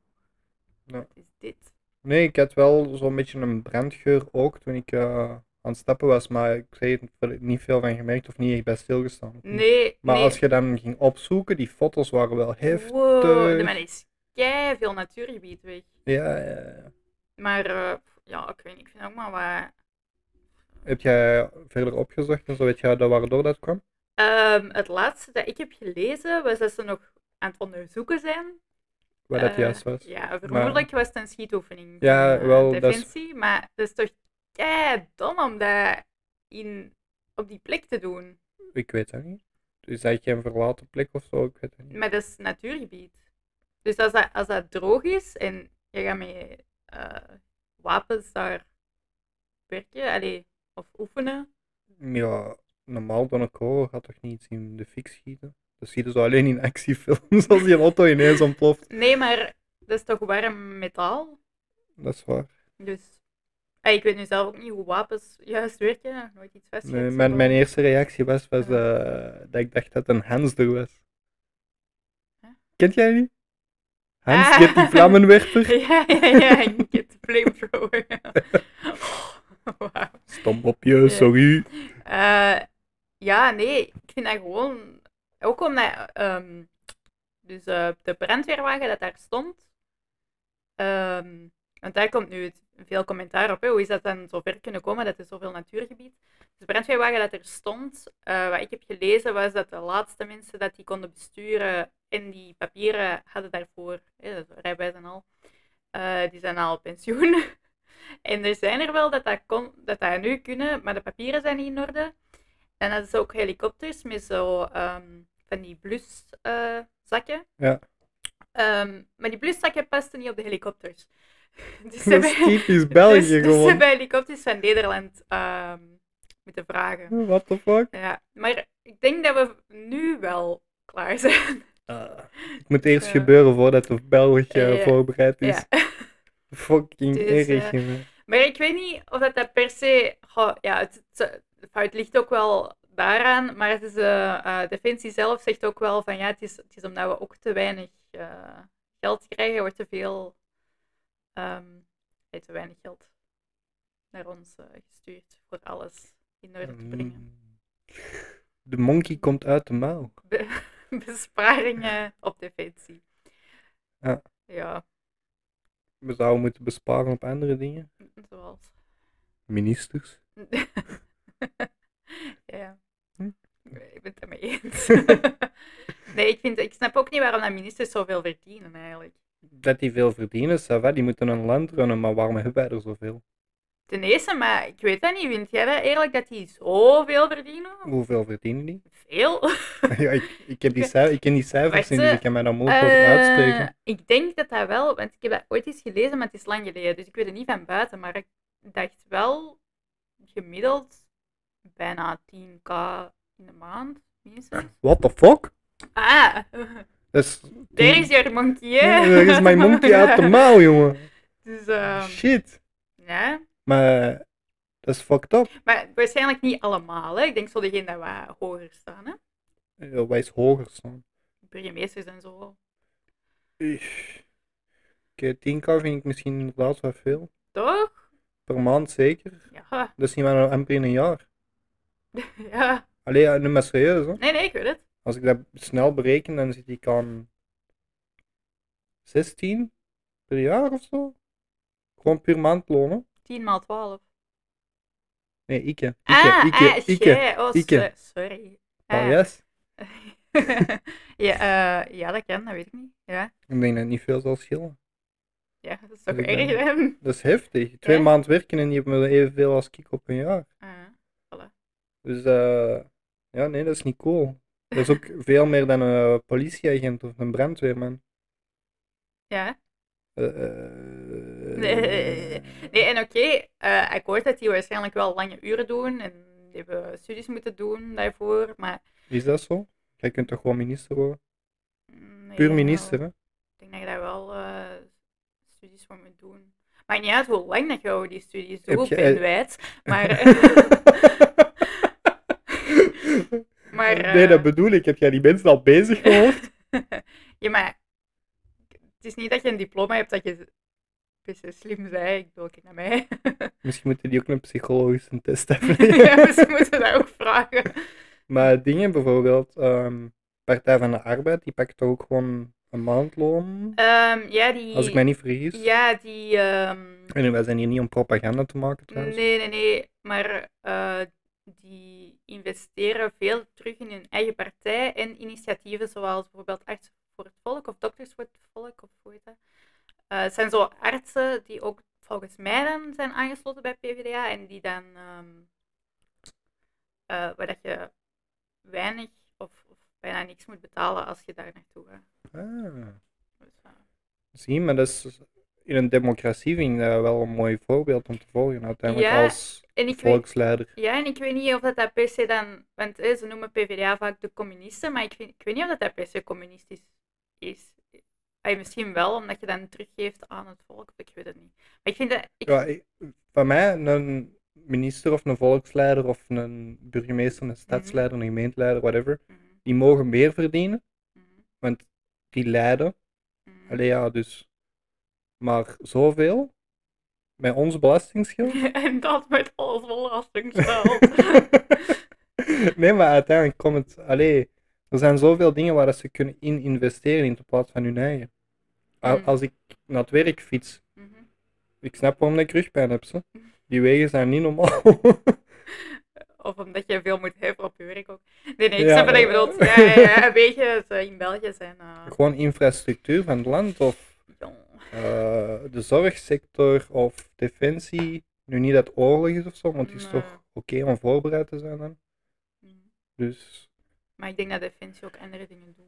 Speaker 2: Hm. Ja.
Speaker 1: wat is dit?
Speaker 2: Nee, ik had wel zo'n beetje een brandgeur ook toen ik eh, aan het stappen was, maar ik zei het heb er niet veel van gemerkt of niet echt bij stilgestaan.
Speaker 1: Nee,
Speaker 2: Maar
Speaker 1: nee.
Speaker 2: als je dan ging opzoeken, die foto's waren wel heftig.
Speaker 1: Wow, nee, maar er is veel natuurgebied weg.
Speaker 2: Ja, ja, ja.
Speaker 1: Maar eh, ja, ik weet niet, ik vind ook maar wat...
Speaker 2: Heb jij verder opgezocht en zo weet jij dat waardoor dat kwam?
Speaker 1: Ehm, het laatste dat ik heb gelezen was dat ze nog aan het onderzoeken zijn.
Speaker 2: Wat dat
Speaker 1: Eh,
Speaker 2: juist was?
Speaker 1: Ja, vermoedelijk was het een schietoefening.
Speaker 2: Ja,
Speaker 1: van, eh,
Speaker 2: wel, dat is-
Speaker 1: Defensie, maar dat is toch kei dom om dat in, op die plek te doen.
Speaker 2: Ik weet dat niet. Dus Is dat geen verlaten plek of zo? Ik weet het niet.
Speaker 1: Maar dat is natuurgebied. Dus als dat, als dat droog is en je gaat met eh, wapens daar werken, allee, of oefenen.
Speaker 2: Ja, normaal dan ook hoor, gaat toch niet iets in de fik schieten? Dat zie je zo alleen in actiefilms als die een auto ineens ontploft.
Speaker 1: Nee, maar dat is toch warm metaal?
Speaker 2: Dat is waar.
Speaker 1: Dus eh, ik weet nu zelf ook niet hoe wapens juist werken. Nog Nooit iets vastgezet.
Speaker 2: Nee, mijn, mijn eerste reactie was, was eh, dat ik dacht dat een Hans er was.
Speaker 1: Huh?
Speaker 2: Kent jij die? Hans,
Speaker 1: Ah.
Speaker 2: je hebt die vlammenwerper.
Speaker 1: Ja, ja, ja, ik heb de flamethrower. Wauw.
Speaker 2: Stom op je, sorry.
Speaker 1: Eh, ja, nee, ik vind dat gewoon... Ook omdat ehm, dus, eh, de brandweerwagen dat daar stond... ehm, want daar komt nu het- veel commentaar op. Hè. Hoe is dat dan zo ver kunnen komen dat er zoveel natuurgebied... Dus de brandweerwagen dat er stond, eh, wat ik heb gelezen, was dat de laatste mensen dat die konden besturen en die papieren hadden daarvoor, hè, rijbewijs en al, eh, die zijn al op pensioen. En er zijn er wel dat dat, kon, dat dat nu kunnen, maar de papieren zijn niet in orde. En dat is ook helikopters met zo ehm, van die bluszakken. zakken.
Speaker 2: Ja.
Speaker 1: Ehm, maar die bluszakken pasten niet op de helikopters. Dus ze
Speaker 2: Dat is
Speaker 1: hebben-
Speaker 2: typisch België
Speaker 1: dus, Dus ze
Speaker 2: gewoon.
Speaker 1: hebben helikopters van Nederland ehm, moeten vragen.
Speaker 2: What the fuck?
Speaker 1: Ja, maar ik denk dat we nu wel klaar zijn.
Speaker 2: Ah, het moet eerst
Speaker 1: eh,
Speaker 2: gebeuren voordat de Belg eh,
Speaker 1: ja.
Speaker 2: voorbereid is.
Speaker 1: Ja.
Speaker 2: Fucking
Speaker 1: Dus, eh,
Speaker 2: erg, jongen.
Speaker 1: Maar ik weet niet of dat, dat per se. goh, ja, het, het, het ligt ook wel daaraan. Maar het is, eh, eh, Defensie zelf zegt ook wel van ja, het is, het is omdat we ook te weinig eh, geld krijgen. Er wordt te veel. ehm, nee, te weinig geld naar ons eh, gestuurd voor alles in orde te brengen.
Speaker 2: Mm. De monkey komt uit de mouw.
Speaker 1: Be- besparingen op Defensie.
Speaker 2: Ja.
Speaker 1: Ja,
Speaker 2: We zouden moeten besparen op andere dingen.
Speaker 1: zoals.
Speaker 2: Ministers.
Speaker 1: ja.
Speaker 2: Hm?
Speaker 1: Ik ben het daarmee eens. Nee, ik, vind, ik snap ook niet waarom dat ministers zoveel verdienen eigenlijk.
Speaker 2: Dat die veel verdienen, ça va, die moeten een land runnen, maar waarom hebben wij er zoveel?
Speaker 1: Ten eerste, maar ik weet dat niet. Vind jij dat eerlijk dat die zoveel verdienen?
Speaker 2: Hoeveel verdienen die?
Speaker 1: Veel?
Speaker 2: ja, ik, ik, heb die cij- ik ken die cijfers
Speaker 1: Wacht,
Speaker 2: niet, dus
Speaker 1: eh,
Speaker 2: ik kan mij daar moeilijk over
Speaker 1: Eh,
Speaker 2: uitspreken.
Speaker 1: ik denk dat dat wel, want ik heb dat ooit eens gelezen, maar het is lang geleden. Dus ik weet het niet van buiten, maar ik dacht wel gemiddeld bijna 10k in de maand, minstens.
Speaker 2: What the fuck?
Speaker 1: Ah,
Speaker 2: Dat is...
Speaker 1: there is your monkey, hè?
Speaker 2: Er is mijn monkey uit de mouw, jongen.
Speaker 1: Dus, ehm,
Speaker 2: Shit.
Speaker 1: ja.
Speaker 2: Maar eh, dat is fucked up.
Speaker 1: Maar waarschijnlijk niet allemaal, hè. Ik denk zo degene dat wat hoger staan, hè.
Speaker 2: Eh, Wij is hoger staan.
Speaker 1: Burgemeesters en zo,
Speaker 2: Eesh. Oké, 10k vind ik misschien inderdaad wel veel.
Speaker 1: toch?
Speaker 2: Per maand zeker.
Speaker 1: Ja,
Speaker 2: Dat is niet maar een amper in een jaar.
Speaker 1: ja.
Speaker 2: Allee, ja, nu maar serieus hoor.
Speaker 1: Nee, nee, ik weet het.
Speaker 2: Als ik dat snel bereken, dan zit ik aan 16 per jaar of zo. Gewoon puur maandloon. hè.
Speaker 1: 10 maal 12.
Speaker 2: Nee, ikke. Ikke,
Speaker 1: ah,
Speaker 2: ikke,
Speaker 1: ah,
Speaker 2: ikke.
Speaker 1: jij. Oh,
Speaker 2: ikke.
Speaker 1: so- sorry.
Speaker 2: Ah,
Speaker 1: Ah.
Speaker 2: yes.
Speaker 1: ja, eh, ja, dat kan, dat weet ik niet. Ja,
Speaker 2: Ik denk dat het niet veel zal schillen.
Speaker 1: ja dat is toch
Speaker 2: Dat
Speaker 1: erg,
Speaker 2: kan.
Speaker 1: hè?
Speaker 2: Dat is heftig. Twee
Speaker 1: Ja.
Speaker 2: maanden werken en je hebt me evenveel als ik op een jaar.
Speaker 1: Ah, voilà.
Speaker 2: Dus eh, ja, nee, dat is niet cool. Dat is ook veel meer dan een politieagent of een brandweerman.
Speaker 1: Ja.
Speaker 2: Eh, eh,
Speaker 1: Nee, Nee, en oké, eh, ik hoor dat die waarschijnlijk wel lange uren doen en die hebben studies moeten doen daarvoor, maar...
Speaker 2: Is dat zo? Jij kunt toch gewoon minister worden?
Speaker 1: mm,
Speaker 2: Puur
Speaker 1: ja,
Speaker 2: minister, hè?
Speaker 1: Ik denk dat je daar wel eh, studies voor moet doen. Maar niet uit hoe lang dat je over die studies
Speaker 2: Heb
Speaker 1: doet,
Speaker 2: je- eh,
Speaker 1: ik ben wijd. Maar, eh, maar
Speaker 2: nee, dat
Speaker 1: eh,
Speaker 2: bedoel ik. Heb jij die mensen al bezig gehoord?
Speaker 1: ja, maar het is niet dat je een diploma hebt dat je precies slim zei. Ik bedoel, kijk naar mij.
Speaker 2: Misschien moeten die ook een psychologische test hebben.
Speaker 1: ja, dus we moeten dat ook vragen.
Speaker 2: Maar dingen bijvoorbeeld, ehm, Partij van de Arbeid, die pakt toch ook gewoon een maandloon?
Speaker 1: Ehm, ja, die...
Speaker 2: Als ik mij niet vergis.
Speaker 1: Ja, die... ehm,
Speaker 2: En wij zijn hier niet om propaganda te maken trouwens.
Speaker 1: Nee, nee, nee. Maar eh, die investeren veel terug in hun eigen partij en initiatieven zoals bijvoorbeeld Artsen voor het Volk of Dokters voor het Volk of hoe heet dat. Eh, het zijn zo artsen die ook volgens mij dan zijn aangesloten bij PvdA en die dan ehm, eh, waar dat je weinig of, of bijna niks moet betalen als je daar naartoe gaat.
Speaker 2: Ah,
Speaker 1: Dus, eh,
Speaker 2: zie, maar dat is in een democratie vind ik dat wel een mooi voorbeeld om te volgen uiteindelijk
Speaker 1: Ja,
Speaker 2: als
Speaker 1: en ik weet-
Speaker 2: volksleider.
Speaker 1: Ja, en ik weet niet of dat, dat per se dan... Want eh, ze noemen PvdA vaak de communisten, maar ik, vind, ik weet niet of dat, dat per se communistisch is. Ay, misschien wel, omdat je dan teruggeeft aan het volk, of ik weet het niet. Maar ik vind dat... Ik,
Speaker 2: Ja, ik- van mij, een minister of een volksleider of een burgemeester, een stadsleider, een gemeenteleider, whatever,
Speaker 1: Mhm,
Speaker 2: die mogen meer verdienen,
Speaker 1: mhm,
Speaker 2: want die leiden.
Speaker 1: mhm.
Speaker 2: Allee ja, dus. Maar zoveel, met ons belastingsgeld.
Speaker 1: en dat met alles belastingsgeld.
Speaker 2: nee, maar uiteindelijk komt het. Allee, er zijn zoveel dingen waar dat ze kunnen in investeren in plaats van hun eigen. Al-
Speaker 1: Mm.
Speaker 2: Als ik naar het werk fiets,
Speaker 1: Mhm.
Speaker 2: ik snap waarom ik rugpijn heb. Zo. Die wegen zijn niet normaal.
Speaker 1: Ah. of omdat je veel moet hebben op je werk ook. Nee, nee, ik
Speaker 2: Ja.
Speaker 1: snap wat je bedoelt. Ja, ja, ja, een beetje. Ze in België zijn... eh,
Speaker 2: Gewoon infrastructuur van het land of
Speaker 1: jong.
Speaker 2: eh, de zorgsector of defensie. Nu niet dat oorlog is of zo, want het is
Speaker 1: Nee.
Speaker 2: toch oké om voorbereid te zijn dan.
Speaker 1: Mhm.
Speaker 2: Dus
Speaker 1: Maar ik denk dat Defensie ook andere dingen doet.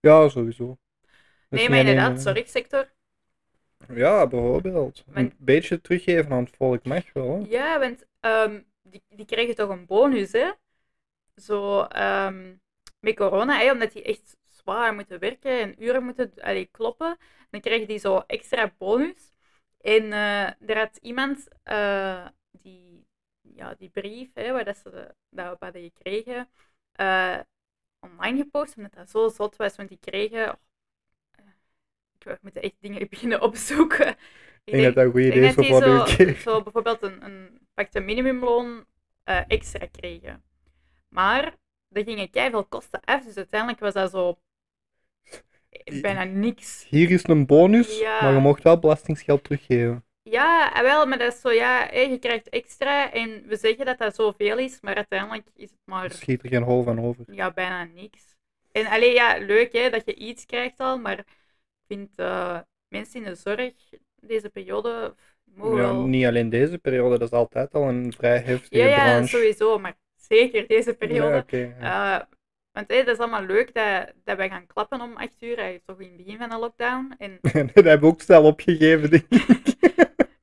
Speaker 2: ja, sowieso. Dat is
Speaker 1: Nee,
Speaker 2: niet
Speaker 1: maar
Speaker 2: alleen,
Speaker 1: inderdaad,
Speaker 2: eh,
Speaker 1: zorgsector.
Speaker 2: Ja, bijvoorbeeld. Een
Speaker 1: Maar-
Speaker 2: beetje teruggeven aan het volk mag wel. hè.
Speaker 1: Ja, want ehm, die, die krijgen toch een bonus, hè? Zo ehm, met corona, hè, omdat die echt zwaar moeten werken en uren moeten allee, kloppen, dan krijgen die zo extra bonus. En eh, er had iemand eh, die, ja, die brief, hè, waar dat ze de- dat we hadden gekregen, eh, online gepost, omdat dat zo zot was, want die kregen... eh, ik we moeten echt dingen beginnen opzoeken. Ik
Speaker 2: Ik
Speaker 1: denk-
Speaker 2: denk dat dat een goed
Speaker 1: ik
Speaker 2: idee is
Speaker 1: denk
Speaker 2: voor
Speaker 1: dat
Speaker 2: voor
Speaker 1: die
Speaker 2: de
Speaker 1: zo,
Speaker 2: keer.
Speaker 1: zo bijvoorbeeld een, een pakte minimumloon eh, extra kregen. Maar dat gingen keiveel kosten af, dus uiteindelijk was dat zo eh, bijna niks.
Speaker 2: Hier is een bonus,
Speaker 1: Ja.
Speaker 2: maar je mocht wel belastingsgeld teruggeven.
Speaker 1: Ja, eh, wel, maar dat is zo, ja, hé, je krijgt extra en we zeggen dat dat zoveel is, maar uiteindelijk is het
Speaker 2: Dus Er
Speaker 1: maar
Speaker 2: schiet er geen hol van over.
Speaker 1: ja, bijna niks. En alleen ja, leuk hè, dat je iets krijgt al, maar ik vind eh, mensen in de zorg deze periode pff, mogen
Speaker 2: Ja,
Speaker 1: wel-
Speaker 2: niet alleen deze periode, dat is altijd al een vrij heftige
Speaker 1: ja, ja,
Speaker 2: branche.
Speaker 1: sowieso, maar zeker deze
Speaker 2: Ja,
Speaker 1: periode.
Speaker 2: oké, ja.
Speaker 1: Eh, want hey, dat is allemaal leuk dat, dat wij gaan klappen om 8 uur. Hij is toch in het begin van de lockdown. En
Speaker 2: dat hebben we ook snel opgegeven, denk ik.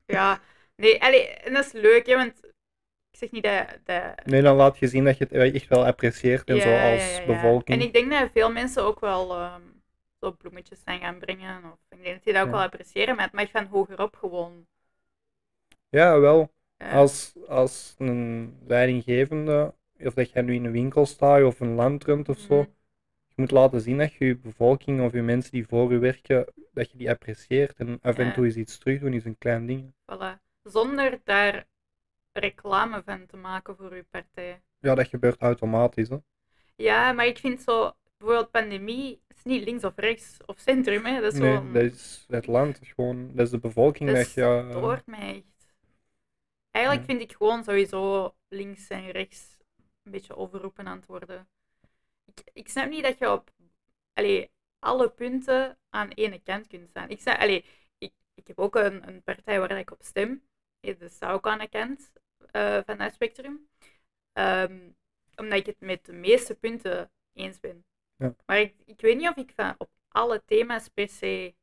Speaker 1: ja, nee, allee, en dat is leuk, hè, want ik zeg niet dat. dat
Speaker 2: Nee, dan laat je zien dat je het echt wel apprecieert en
Speaker 1: ja,
Speaker 2: zo
Speaker 1: ja,
Speaker 2: als
Speaker 1: ja, ja.
Speaker 2: bevolking.
Speaker 1: En ik denk dat veel mensen ook wel ehm, zo bloemetjes zijn gaan brengen. Of, ik denk dat die dat ook
Speaker 2: Ja.
Speaker 1: wel appreciëren, maar het mag van hogerop gewoon.
Speaker 2: Ja, wel.
Speaker 1: eh,
Speaker 2: Als, als een leidinggevende, of dat jij nu in een winkel staat of een land runt of zo,
Speaker 1: Mhm.
Speaker 2: je moet laten zien dat je je bevolking of je mensen die voor je werken, dat je die apprecieert. En af en
Speaker 1: Ja.
Speaker 2: toe eens iets terugdoen is een klein ding.
Speaker 1: Voilà. Zonder daar reclame van te maken voor uw partij.
Speaker 2: Ja, dat gebeurt automatisch. Hè.
Speaker 1: Ja, maar ik vind zo, bijvoorbeeld pandemie, het is niet links of rechts of centrum, hè. Dat is
Speaker 2: nee,
Speaker 1: gewoon,
Speaker 2: dat is het land, is gewoon, dat is de bevolking
Speaker 1: dat
Speaker 2: dat
Speaker 1: is-
Speaker 2: je... eh,
Speaker 1: dat hoort mij echt. Eigenlijk
Speaker 2: Ja.
Speaker 1: vind ik gewoon sowieso links en rechts een beetje overroepen aan het worden. Ik, ik snap niet dat je op allee, alle punten aan ene kant kunt staan. Ik, snap, allee, ik, ik heb ook een, een partij waar ik op stem. Eh, Dat staat ook aan de kant eh, van het spectrum. Ehm, omdat ik het met de meeste punten eens ben.
Speaker 2: Ja.
Speaker 1: Maar ik, ik weet niet of ik van op alle thema's per se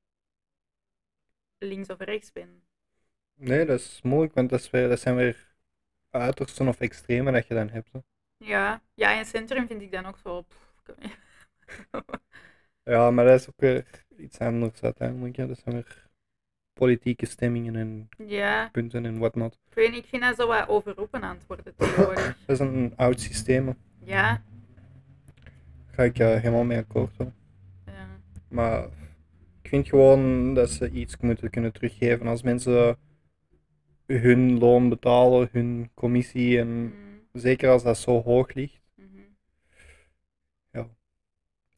Speaker 1: links of rechts ben.
Speaker 2: Nee, dat is moeilijk, want dat, is weer, dat zijn weer uitersten of extremen dat je dan hebt. hè.
Speaker 1: Ja, ja in het centrum vind ik dan ook zo. pff, ik weet niet.
Speaker 2: Ja, maar dat is ook weer iets anders uiteindelijk. Ja. Dat zijn weer politieke stemmingen en
Speaker 1: ja,
Speaker 2: punten en whatnot.
Speaker 1: ik weet niet, ik vind dat zo wat overroepen aan het worden tegenwoordig.
Speaker 2: Dat is een, een oud systeem. hè.
Speaker 1: Ja,
Speaker 2: Daar ga ik eh, helemaal mee akkoord. hoor.
Speaker 1: ja.
Speaker 2: Maar ik vind gewoon dat ze iets moeten kunnen teruggeven. Als mensen hun loon betalen, hun commissie en
Speaker 1: Mm,
Speaker 2: zeker als dat zo hoog ligt,
Speaker 1: mhm.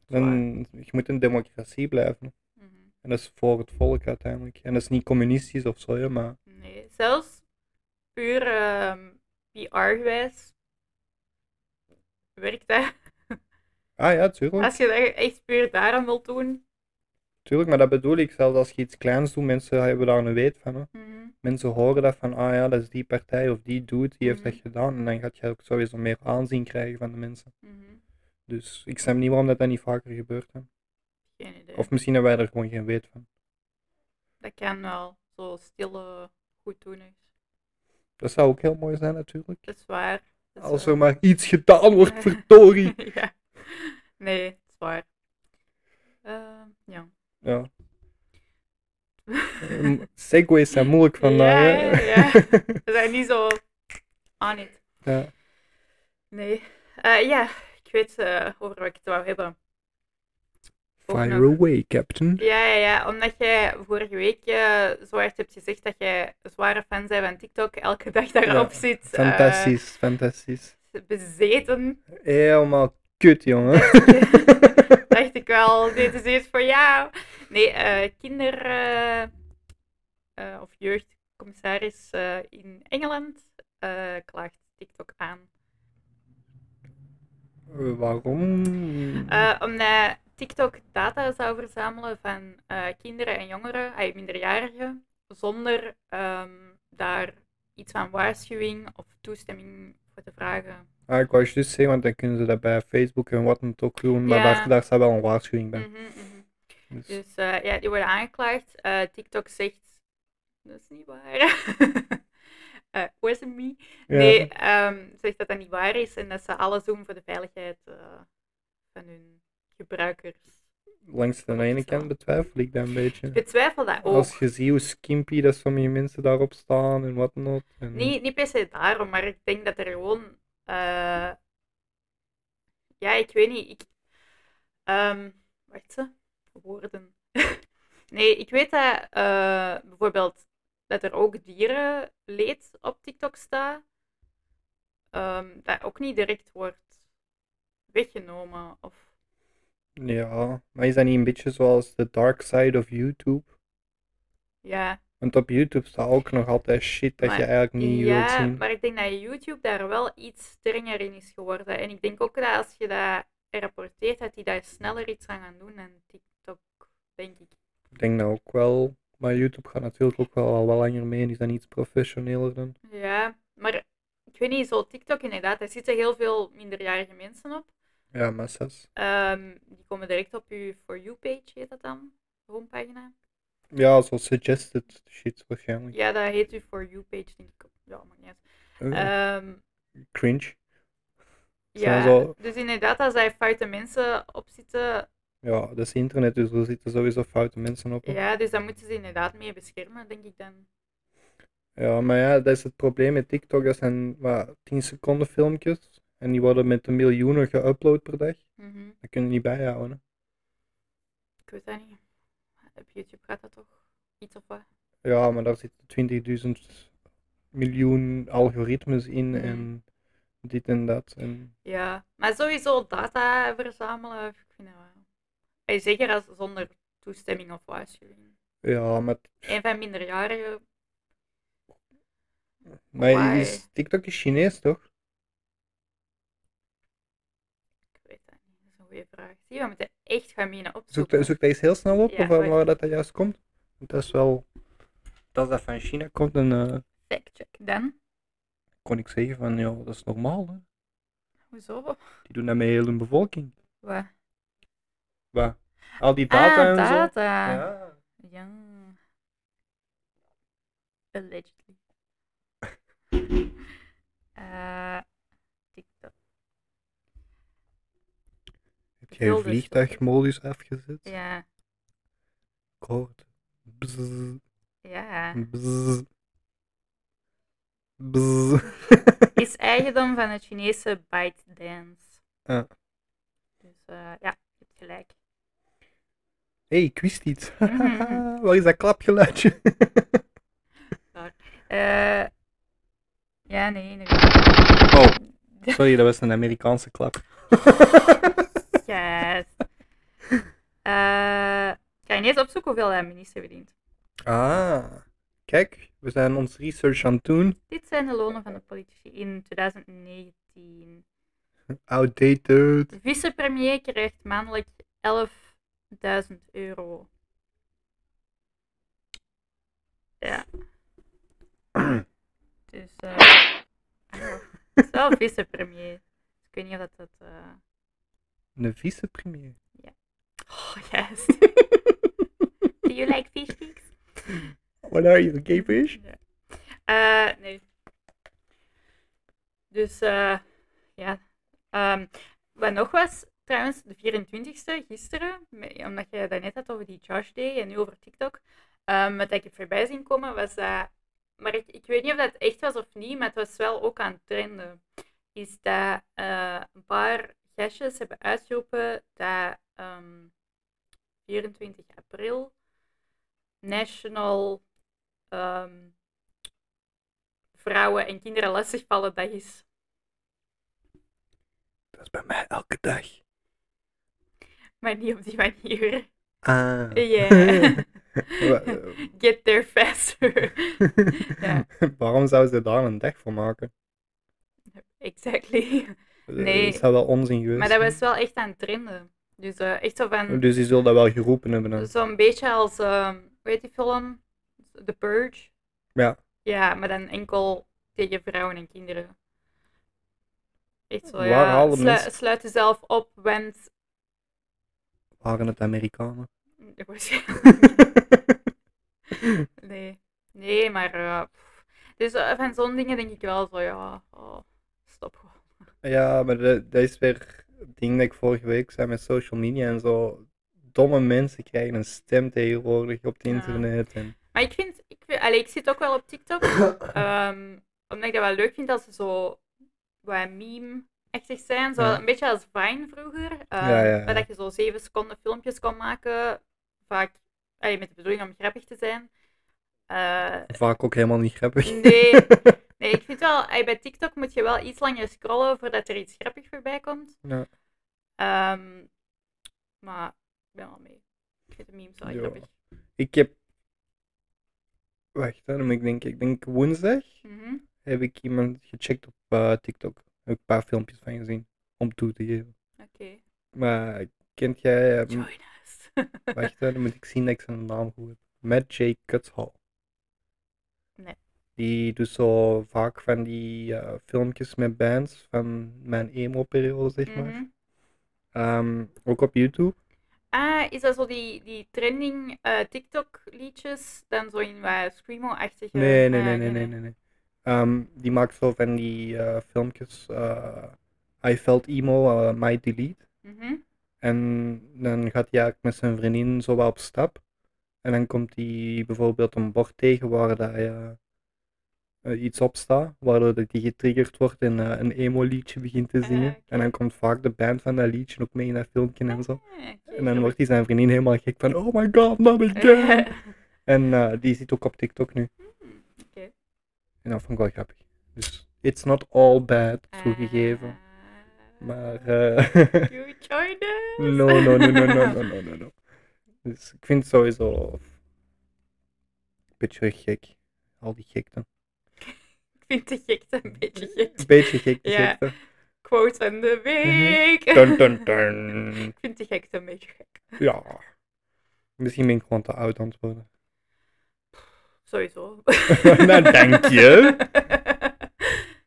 Speaker 2: dan je moet een democratie blijven.
Speaker 1: Mhm.
Speaker 2: En dat is voor het volk uiteindelijk. En dat is niet communistisch of zo, ja, maar
Speaker 1: Nee, zelfs puur ehm, PR-gewijs werkt dat.
Speaker 2: ah ja, tuurlijk.
Speaker 1: Als je dat echt puur daarom wilt doen.
Speaker 2: Tuurlijk, maar dat bedoel ik. Zelfs als je iets kleins doet, mensen hebben daar een weet van. Hè.
Speaker 1: Mhm.
Speaker 2: Mensen horen dat van, ah ja, dat is die partij of die dude, die heeft dat
Speaker 1: Mhm.
Speaker 2: gedaan. En dan gaat je ook sowieso meer aanzien krijgen van de mensen.
Speaker 1: mhm.
Speaker 2: Dus ik snap niet waarom dat, dat niet vaker gebeurt. Hè.
Speaker 1: Geen idee.
Speaker 2: Of misschien hebben wij er gewoon geen weet van.
Speaker 1: Dat kan wel. Zo stille goeddoeners.
Speaker 2: Dat zou ook heel mooi zijn natuurlijk.
Speaker 1: Dat is waar. Dat is
Speaker 2: Als
Speaker 1: waar.
Speaker 2: er maar iets gedaan wordt, verdorie.
Speaker 1: ja. Nee, dat is waar. Ehm, ja.
Speaker 2: Ja. Ehm, Segways zijn moeilijk vandaag. hè.
Speaker 1: Ja, ja, We zijn niet zo aan het.
Speaker 2: Ja.
Speaker 1: Nee. Eh, ja, ik weet eh, over wat ik het wou hebben. Ook
Speaker 2: Fire
Speaker 1: nog.
Speaker 2: away, captain.
Speaker 1: Ja, ja, ja, omdat jij vorige week eh, zo hard hebt gezegd dat jij een zware fan bent van TikTok, elke dag daarop
Speaker 2: Ja,
Speaker 1: zit. eh,
Speaker 2: Fantastisch, fantastisch.
Speaker 1: bezeten.
Speaker 2: Helemaal kut, jongen.
Speaker 1: dacht ik wel, dit is iets voor jou. Nee, eh, kinder- eh, eh, of jeugdcommissaris eh, in Engeland eh, klaagt TikTok aan.
Speaker 2: Eh, Waarom?
Speaker 1: Eh, omdat TikTok data zou verzamelen van eh, kinderen en jongeren, ay, minderjarigen, zonder ehm, daar iets van waarschuwing of toestemming voor te vragen.
Speaker 2: Ah, ik wou je dus zeggen, want dan kunnen ze dat bij Facebook en wat dan ook doen, maar
Speaker 1: Ja.
Speaker 2: daar, daar staat wel een waarschuwing bij.
Speaker 1: Mhm, mhm.
Speaker 2: Dus,
Speaker 1: Dus eh, ja, die worden aangeklaagd. Eh, TikTok zegt, dat is niet waar. Eh wasn't me.
Speaker 2: ja.
Speaker 1: Nee, ehm, zegt dat dat niet waar is en dat ze alles doen voor de veiligheid eh, van hun gebruikers.
Speaker 2: Langs de
Speaker 1: dat
Speaker 2: ene
Speaker 1: is
Speaker 2: kant
Speaker 1: wel-
Speaker 2: betwijfel ik dat een beetje.
Speaker 1: Ik betwijfel dat ook.
Speaker 2: Als je ziet hoe skimpy dat sommige mensen daarop staan en whatnot. En...
Speaker 1: Niet, niet per se daarom, maar ik denk dat er gewoon. eh, Ja, ik weet niet. Ik... ehm, wacht ze. Woorden. nee, ik weet dat eh, bijvoorbeeld dat er ook dierenleed op TikTok staat. ehm, dat ook niet direct wordt weggenomen. Of...
Speaker 2: Ja, maar is dat niet een beetje zoals de dark side of YouTube?
Speaker 1: Ja,
Speaker 2: Want op YouTube staat ook nog altijd shit dat
Speaker 1: Maar-
Speaker 2: je eigenlijk niet wilt
Speaker 1: ja
Speaker 2: zien.
Speaker 1: maar ik denk dat YouTube daar wel iets strenger in is geworden. En ik denk ook dat als je dat rapporteert, dat die daar sneller iets aan gaan doen dan TikTok, denk ik.
Speaker 2: Ik denk dat ook wel. Maar YouTube gaat natuurlijk ook wel al wel langer mee en is dan iets professioneler dan.
Speaker 1: Ja, maar ik weet niet, zo TikTok inderdaad, daar zitten heel veel minderjarige mensen op.
Speaker 2: Ja, massa's.
Speaker 1: Ehm, die komen direct op uw For You-page, heet dat dan? Homepagina.
Speaker 2: Ja, zo suggested shit waarschijnlijk.
Speaker 1: Ja, dat heet uw For You-page, denk ik. Ja, maar niet uit.
Speaker 2: Eh,
Speaker 1: Ehm,
Speaker 2: cringe.
Speaker 1: ja,
Speaker 2: Zijn zo-
Speaker 1: dus inderdaad, als daar foute mensen op zitten,
Speaker 2: Ja, dat is internet, dus er zitten sowieso foute mensen op. hè.
Speaker 1: ja, dus daar moeten ze inderdaad mee beschermen, denk ik dan.
Speaker 2: Ja, maar ja, dat is het probleem met TikTok. Dat zijn wat, 10 seconden filmpjes. En die worden met de miljoenen geüpload per dag.
Speaker 1: Mhm.
Speaker 2: Dat kun je niet bijhouden. hè.
Speaker 1: Ik weet dat niet. Op YouTube gaat dat toch iets of wat?
Speaker 2: Ja, maar daar zitten 20.000 miljoen algoritmes in
Speaker 1: Mhm.
Speaker 2: en dit en dat. En
Speaker 1: Ja, maar sowieso data verzamelen, ik vind dat wel. En zeker als zonder toestemming of waarschuwing.
Speaker 2: ja, maar,
Speaker 1: Een van minderjarigen,
Speaker 2: maar
Speaker 1: Why?
Speaker 2: is, TikTok is Chinees toch?
Speaker 1: ik weet dat niet, dat is een goede vraag. Zie, je, we moeten echt gaan minen
Speaker 2: Zoek,
Speaker 1: opzoeken.
Speaker 2: dat- zoek dat eens heel snel op
Speaker 1: Ja,
Speaker 2: of waar,
Speaker 1: wacht.
Speaker 2: waar dat, dat juist komt. Want dat is wel. Als dat van China komt, dan eh,
Speaker 1: Fact-check dan.
Speaker 2: kon ik zeggen van ja, dat is normaal. Hè?
Speaker 1: Hoezo?
Speaker 2: Die doen dat met heel hun bevolking.
Speaker 1: Wat?
Speaker 2: Waar? Al die data
Speaker 1: ah,
Speaker 2: en zo.
Speaker 1: data. Ja.
Speaker 2: Ja.
Speaker 1: Allegedly. Eh, TikTok.
Speaker 2: Heb jij je
Speaker 1: Wilde
Speaker 2: vliegtuigmodus afgezet?
Speaker 1: Ja,
Speaker 2: Ik hoor het. Bzzz.
Speaker 1: ja.
Speaker 2: Bzz. Bzz.
Speaker 1: is eigendom van het Chinese ByteDance.
Speaker 2: Ja.
Speaker 1: Dus eh, ja, je hebt gelijk.
Speaker 2: hey, ik wist iets.
Speaker 1: Mhm.
Speaker 2: Waar is dat klapgeluidje?
Speaker 1: Eh, ja, nee, inderdaad.
Speaker 2: Oh, sorry, dat was een Amerikaanse klap.
Speaker 1: Yes. Eh, ik ga ineens opzoeken hoeveel hij minister verdient.
Speaker 2: Ah, kijk, we zijn ons research aan het doen.
Speaker 1: Dit zijn de lonen van de politici in 2019.
Speaker 2: Outdated.
Speaker 1: De vicepremier krijgt maandelijk 11.000 euro. Ja. dus, eh oh, het is wel vicepremier. Dus ik weet niet of dat... dat eh,
Speaker 2: Een vicepremier.
Speaker 1: Oh, yes. Do you like fish sticks?
Speaker 2: What are you, gay fish?
Speaker 1: Ja. Eh, nee. Dus, eh, ja. Ehm, wat nog was, trouwens, de 24e, gisteren, me- omdat je daarnet had over die Josh Day en nu over TikTok, ehm, wat ik heb voorbij zien komen, was dat... Maar ik, ik weet niet of dat echt was of niet, maar het was wel ook aan het trenden. Is dat eh, een paar gastjes hebben uitgeroepen dat ehm, 24 april National ehm, vrouwen en kinderen lastigvallen dag is.
Speaker 2: Dat is bij mij elke dag.
Speaker 1: Maar niet op die manier.
Speaker 2: Ah.
Speaker 1: Yeah.
Speaker 2: Wa- eh.
Speaker 1: Get there faster. Ja.
Speaker 2: Waarom zouden ze daar een dag voor maken?
Speaker 1: exactly.
Speaker 2: Eh,
Speaker 1: Nee.
Speaker 2: Het zou wel onzin geweest
Speaker 1: Maar dat
Speaker 2: zijn.
Speaker 1: was wel echt aan het trenden. Dus eh, echt zo van,
Speaker 2: Dus die zullen dat wel geroepen hebben dan.
Speaker 1: zo'n beetje als, ehm, hoe heet die film? The Purge.
Speaker 2: Ja.
Speaker 1: Ja, maar dan enkel tegen vrouwen en kinderen. Echt zo,
Speaker 2: Waar
Speaker 1: ja.
Speaker 2: halen
Speaker 1: Slu-
Speaker 2: mensen-
Speaker 1: Sluit jezelf op, want...
Speaker 2: Waren het Amerikanen?
Speaker 1: Nee, nee, maar. eh, pff. dus eh, van zo'n dingen denk ik wel zo, ja, oh, stop gewoon.
Speaker 2: ja, maar dat, dat is weer het ding dat ik vorige week zei met social media en zo. Domme mensen krijgen een stem tegenwoordig op het
Speaker 1: Ja.
Speaker 2: internet. En...
Speaker 1: Maar ik vind, ik, vind- allee, ik zit ook wel op TikTok, ehm, omdat ik dat wel leuk vind dat ze zo wat meme-echtig zijn. Zo
Speaker 2: Ja.
Speaker 1: een beetje als Vine vroeger, ehm,
Speaker 2: Ja, ja, ja.
Speaker 1: waar dat je zo zeven seconden filmpjes kon maken, vaak allee, met de bedoeling om grappig te zijn. Eh,
Speaker 2: Vaak ook helemaal niet grappig.
Speaker 1: Nee. nee, ik vind wel, ey, bij TikTok moet je wel iets langer scrollen voordat er iets grappigs voorbij komt.
Speaker 2: Ja.
Speaker 1: Ehm, maar ik ben wel mee. Ik vind de memes wel
Speaker 2: Ja.
Speaker 1: grappig.
Speaker 2: ik heb. Wacht, hè, dan moet ik denken. Ik denk woensdag
Speaker 1: Mhm.
Speaker 2: heb ik iemand gecheckt op eh, TikTok. Heb ik een paar filmpjes van gezien. Om toe te geven.
Speaker 1: Oké.
Speaker 2: Maar kent jij... ehm,
Speaker 1: Join us.
Speaker 2: wacht, hè, dan moet ik zien dat ik zijn naam goed heb. Matt J. Cutshall.
Speaker 1: Nee.
Speaker 2: Die doet zo vaak van die eh, filmpjes met bands van mijn emo-periode, zeg maar.
Speaker 1: Mhm.
Speaker 2: Ehm, ook op YouTube.
Speaker 1: Ah, is dat zo die, die trending eh, TikTok-liedjes? Dan zo in wat Screamo-achtige...
Speaker 2: Nee, nee,
Speaker 1: Ah,
Speaker 2: nee,
Speaker 1: oké,
Speaker 2: nee, nee, nee. nee. Ehm, die maakt zo van die eh, filmpjes. eh, I felt emo, eh, my delete.
Speaker 1: Mhm.
Speaker 2: En dan gaat hij eigenlijk met zijn vriendin zo wat op stap. En dan komt hij bijvoorbeeld een bord tegen waar dat, eh, eh, iets op staat, waardoor dat hij getriggerd wordt en eh, een emo-liedje begint te
Speaker 1: Ah,
Speaker 2: zingen.
Speaker 1: oké.
Speaker 2: En dan komt vaak de band van dat liedje ook mee in dat filmpje en zo.
Speaker 1: Ah, oké,
Speaker 2: En dan
Speaker 1: zo.
Speaker 2: wordt hij zijn vriendin helemaal gek van, oh my god, not again! En eh, die zit ook op TikTok nu.
Speaker 1: Hmm, oké.
Speaker 2: En dat vond ik wel grappig. Dus it's not all bad,
Speaker 1: Eh.
Speaker 2: toegegeven.
Speaker 1: Ah,
Speaker 2: Maar eh,
Speaker 1: You join us.
Speaker 2: no, no, no, no, no, no, no, no, no. Dus ik vind het sowieso een beetje gek. Al die gekte.
Speaker 1: Ik vind de gekte een beetje gek.
Speaker 2: Een beetje gek, die
Speaker 1: Ja.
Speaker 2: gekte.
Speaker 1: Quote van de week.
Speaker 2: Dun, dun, dun.
Speaker 1: Ik vind de gekte een beetje gek.
Speaker 2: Ja. Misschien ben ik gewoon te oud aan het worden.
Speaker 1: Sowieso.
Speaker 2: Nou, dank je.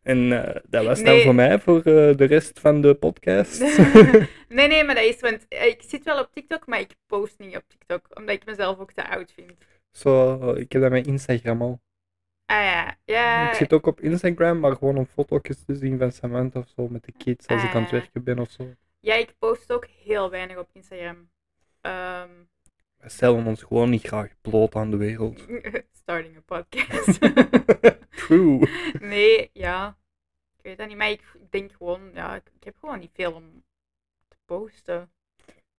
Speaker 2: En eh, dat was dan
Speaker 1: Nee.
Speaker 2: voor mij, voor eh, de rest van de podcast.
Speaker 1: nee, nee, maar dat is, want eh, ik zit wel op TikTok, maar ik post niet op TikTok, omdat ik mezelf ook te oud vind.
Speaker 2: Zo, ik heb dat met Instagram al.
Speaker 1: Ah ja, ja.
Speaker 2: Ik zit ook op Instagram, maar gewoon om foto's te zien van Samantha of zo met de kids als ik aan het
Speaker 1: Ah.
Speaker 2: werken ben of zo.
Speaker 1: Ja, ik post ook heel weinig op Instagram. Ehm,
Speaker 2: We stellen ons gewoon niet graag bloot aan de wereld.
Speaker 1: starting a podcast.
Speaker 2: True.
Speaker 1: nee, ja. Ik weet dat niet, maar ik denk gewoon, ja, ik, ik heb gewoon niet veel om te posten.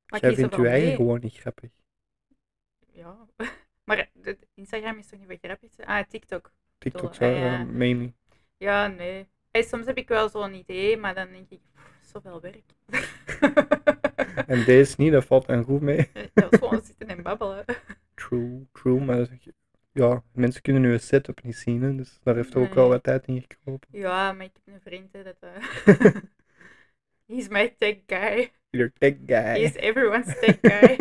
Speaker 1: Maar
Speaker 2: Jij
Speaker 1: ik kies
Speaker 2: vindt
Speaker 1: ervan
Speaker 2: je eigen
Speaker 1: mee.
Speaker 2: gewoon niet grappig.
Speaker 1: Ja. Maar eh, de- Instagram is toch niet wat grappig? Ah, TikTok.
Speaker 2: TikTok
Speaker 1: Toch,
Speaker 2: zou
Speaker 1: ah, ja.
Speaker 2: eh, meen niet.
Speaker 1: Ja, nee. Hey, soms heb ik wel zo'n idee, maar dan denk ik, pff, zoveel werk.
Speaker 2: En deze niet, dat valt dan goed mee.
Speaker 1: Dat is gewoon zitten en babbelen.
Speaker 2: True, true, maar dat is- ja, mensen kunnen nu een setup niet zien, hè, dus daar heeft er ook wel
Speaker 1: Nee.
Speaker 2: wat tijd in gekropen.
Speaker 1: Ja, maar ik heb een vriend, hè, dat... eh, He's my tech guy.
Speaker 2: Your tech guy.
Speaker 1: He's everyone's tech guy.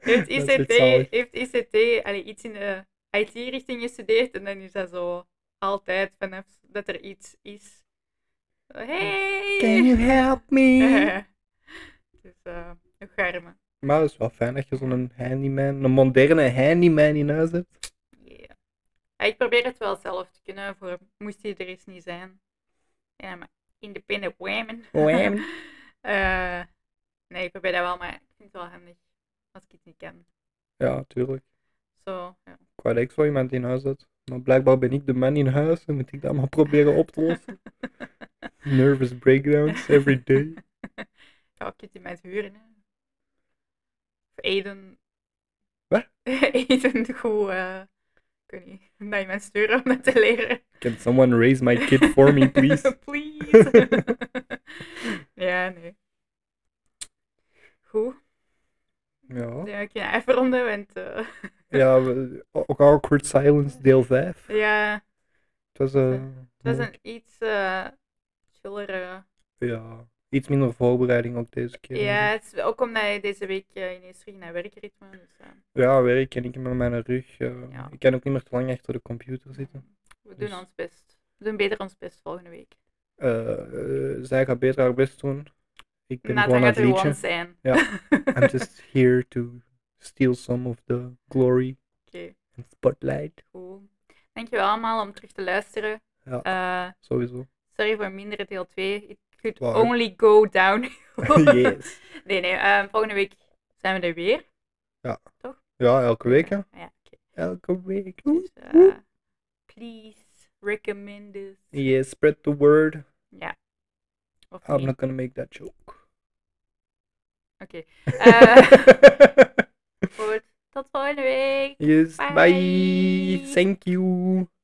Speaker 1: Heeft
Speaker 2: Dat is
Speaker 1: ICT,
Speaker 2: echt zalig.
Speaker 1: heeft ICT allee, iets in de IT-richting gestudeerd en dan is dat zo altijd vanaf dat er iets is. Zo, Hey!
Speaker 2: Can you help me?
Speaker 1: dus, eh een charme.
Speaker 2: maar het is wel fijn dat je zo'n handyman, een moderne handyman in huis hebt.
Speaker 1: Ja. Ja, Ik probeer het wel zelf te kunnen, voor moest hij er eens niet zijn. Ja, maar independent women.
Speaker 2: Women.
Speaker 1: Eh, nee, ik probeer dat wel, maar ik vind het wel handig als ik het niet kan.
Speaker 2: Ja, tuurlijk.
Speaker 1: Zo, ja.
Speaker 2: Ik wou dat ik zo iemand in huis had. Maar blijkbaar ben ik de man in huis en moet ik dat maar proberen op te lossen. Nervous breakdowns every day.
Speaker 1: Ja, ik heb die met huren. Hè. Of Eden.
Speaker 2: Wat?
Speaker 1: Eden, goed. eh, ik weet niet. Naar iemand sturen om dat te leren.
Speaker 2: Can someone raise my kid for me, please?
Speaker 1: please. ja, nee. Goed.
Speaker 2: Ja,
Speaker 1: Ja, ik ga even ronden, want eh,
Speaker 2: ja we- ook Awkward Silence deel 5. Het
Speaker 1: ja,
Speaker 2: was, eh,
Speaker 1: het was een iets eh chillere.
Speaker 2: ja, iets minder voorbereiding ook deze keer.
Speaker 1: Ja, het is ook omdat je deze week eh, ineens terug naar werkritme. Dus, eh,
Speaker 2: Ja, werk en ik met mijn rug. eh,
Speaker 1: Ja.
Speaker 2: Ik kan ook niet meer te lang achter de computer zitten.
Speaker 1: we doen
Speaker 2: Dus-
Speaker 1: ons best. We doen beter ons best volgende week.
Speaker 2: Eh, eh, zij gaat beter haar best doen. Ik ben
Speaker 1: Nathan
Speaker 2: gewoon aan
Speaker 1: gaat
Speaker 2: het
Speaker 1: er gewoon
Speaker 2: liedje.
Speaker 1: zijn.
Speaker 2: Ja. I'm
Speaker 1: Oké,
Speaker 2: just here to steal some of the glory and spotlight.
Speaker 1: goed. Dankjewel allemaal om terug te luisteren.
Speaker 2: Ja,
Speaker 1: Eh,
Speaker 2: sowieso.
Speaker 1: sorry voor minder deel 2. It could
Speaker 2: Wow.
Speaker 1: only go down.
Speaker 2: yes.
Speaker 1: Nee, nee. eh, volgende week zijn we er weer. Ah,
Speaker 2: Ja, elke week hè.
Speaker 1: Ja, oké.
Speaker 2: Elke week.
Speaker 1: Dus, eh, please recommend this.
Speaker 2: Yes, spread the word.
Speaker 1: Ja. Of
Speaker 2: I'm
Speaker 1: niet.
Speaker 2: not gonna make that joke.
Speaker 1: Oké. Eh, goed. Tot volgende week.
Speaker 2: yes, bye.
Speaker 1: Bye.
Speaker 2: Thank you.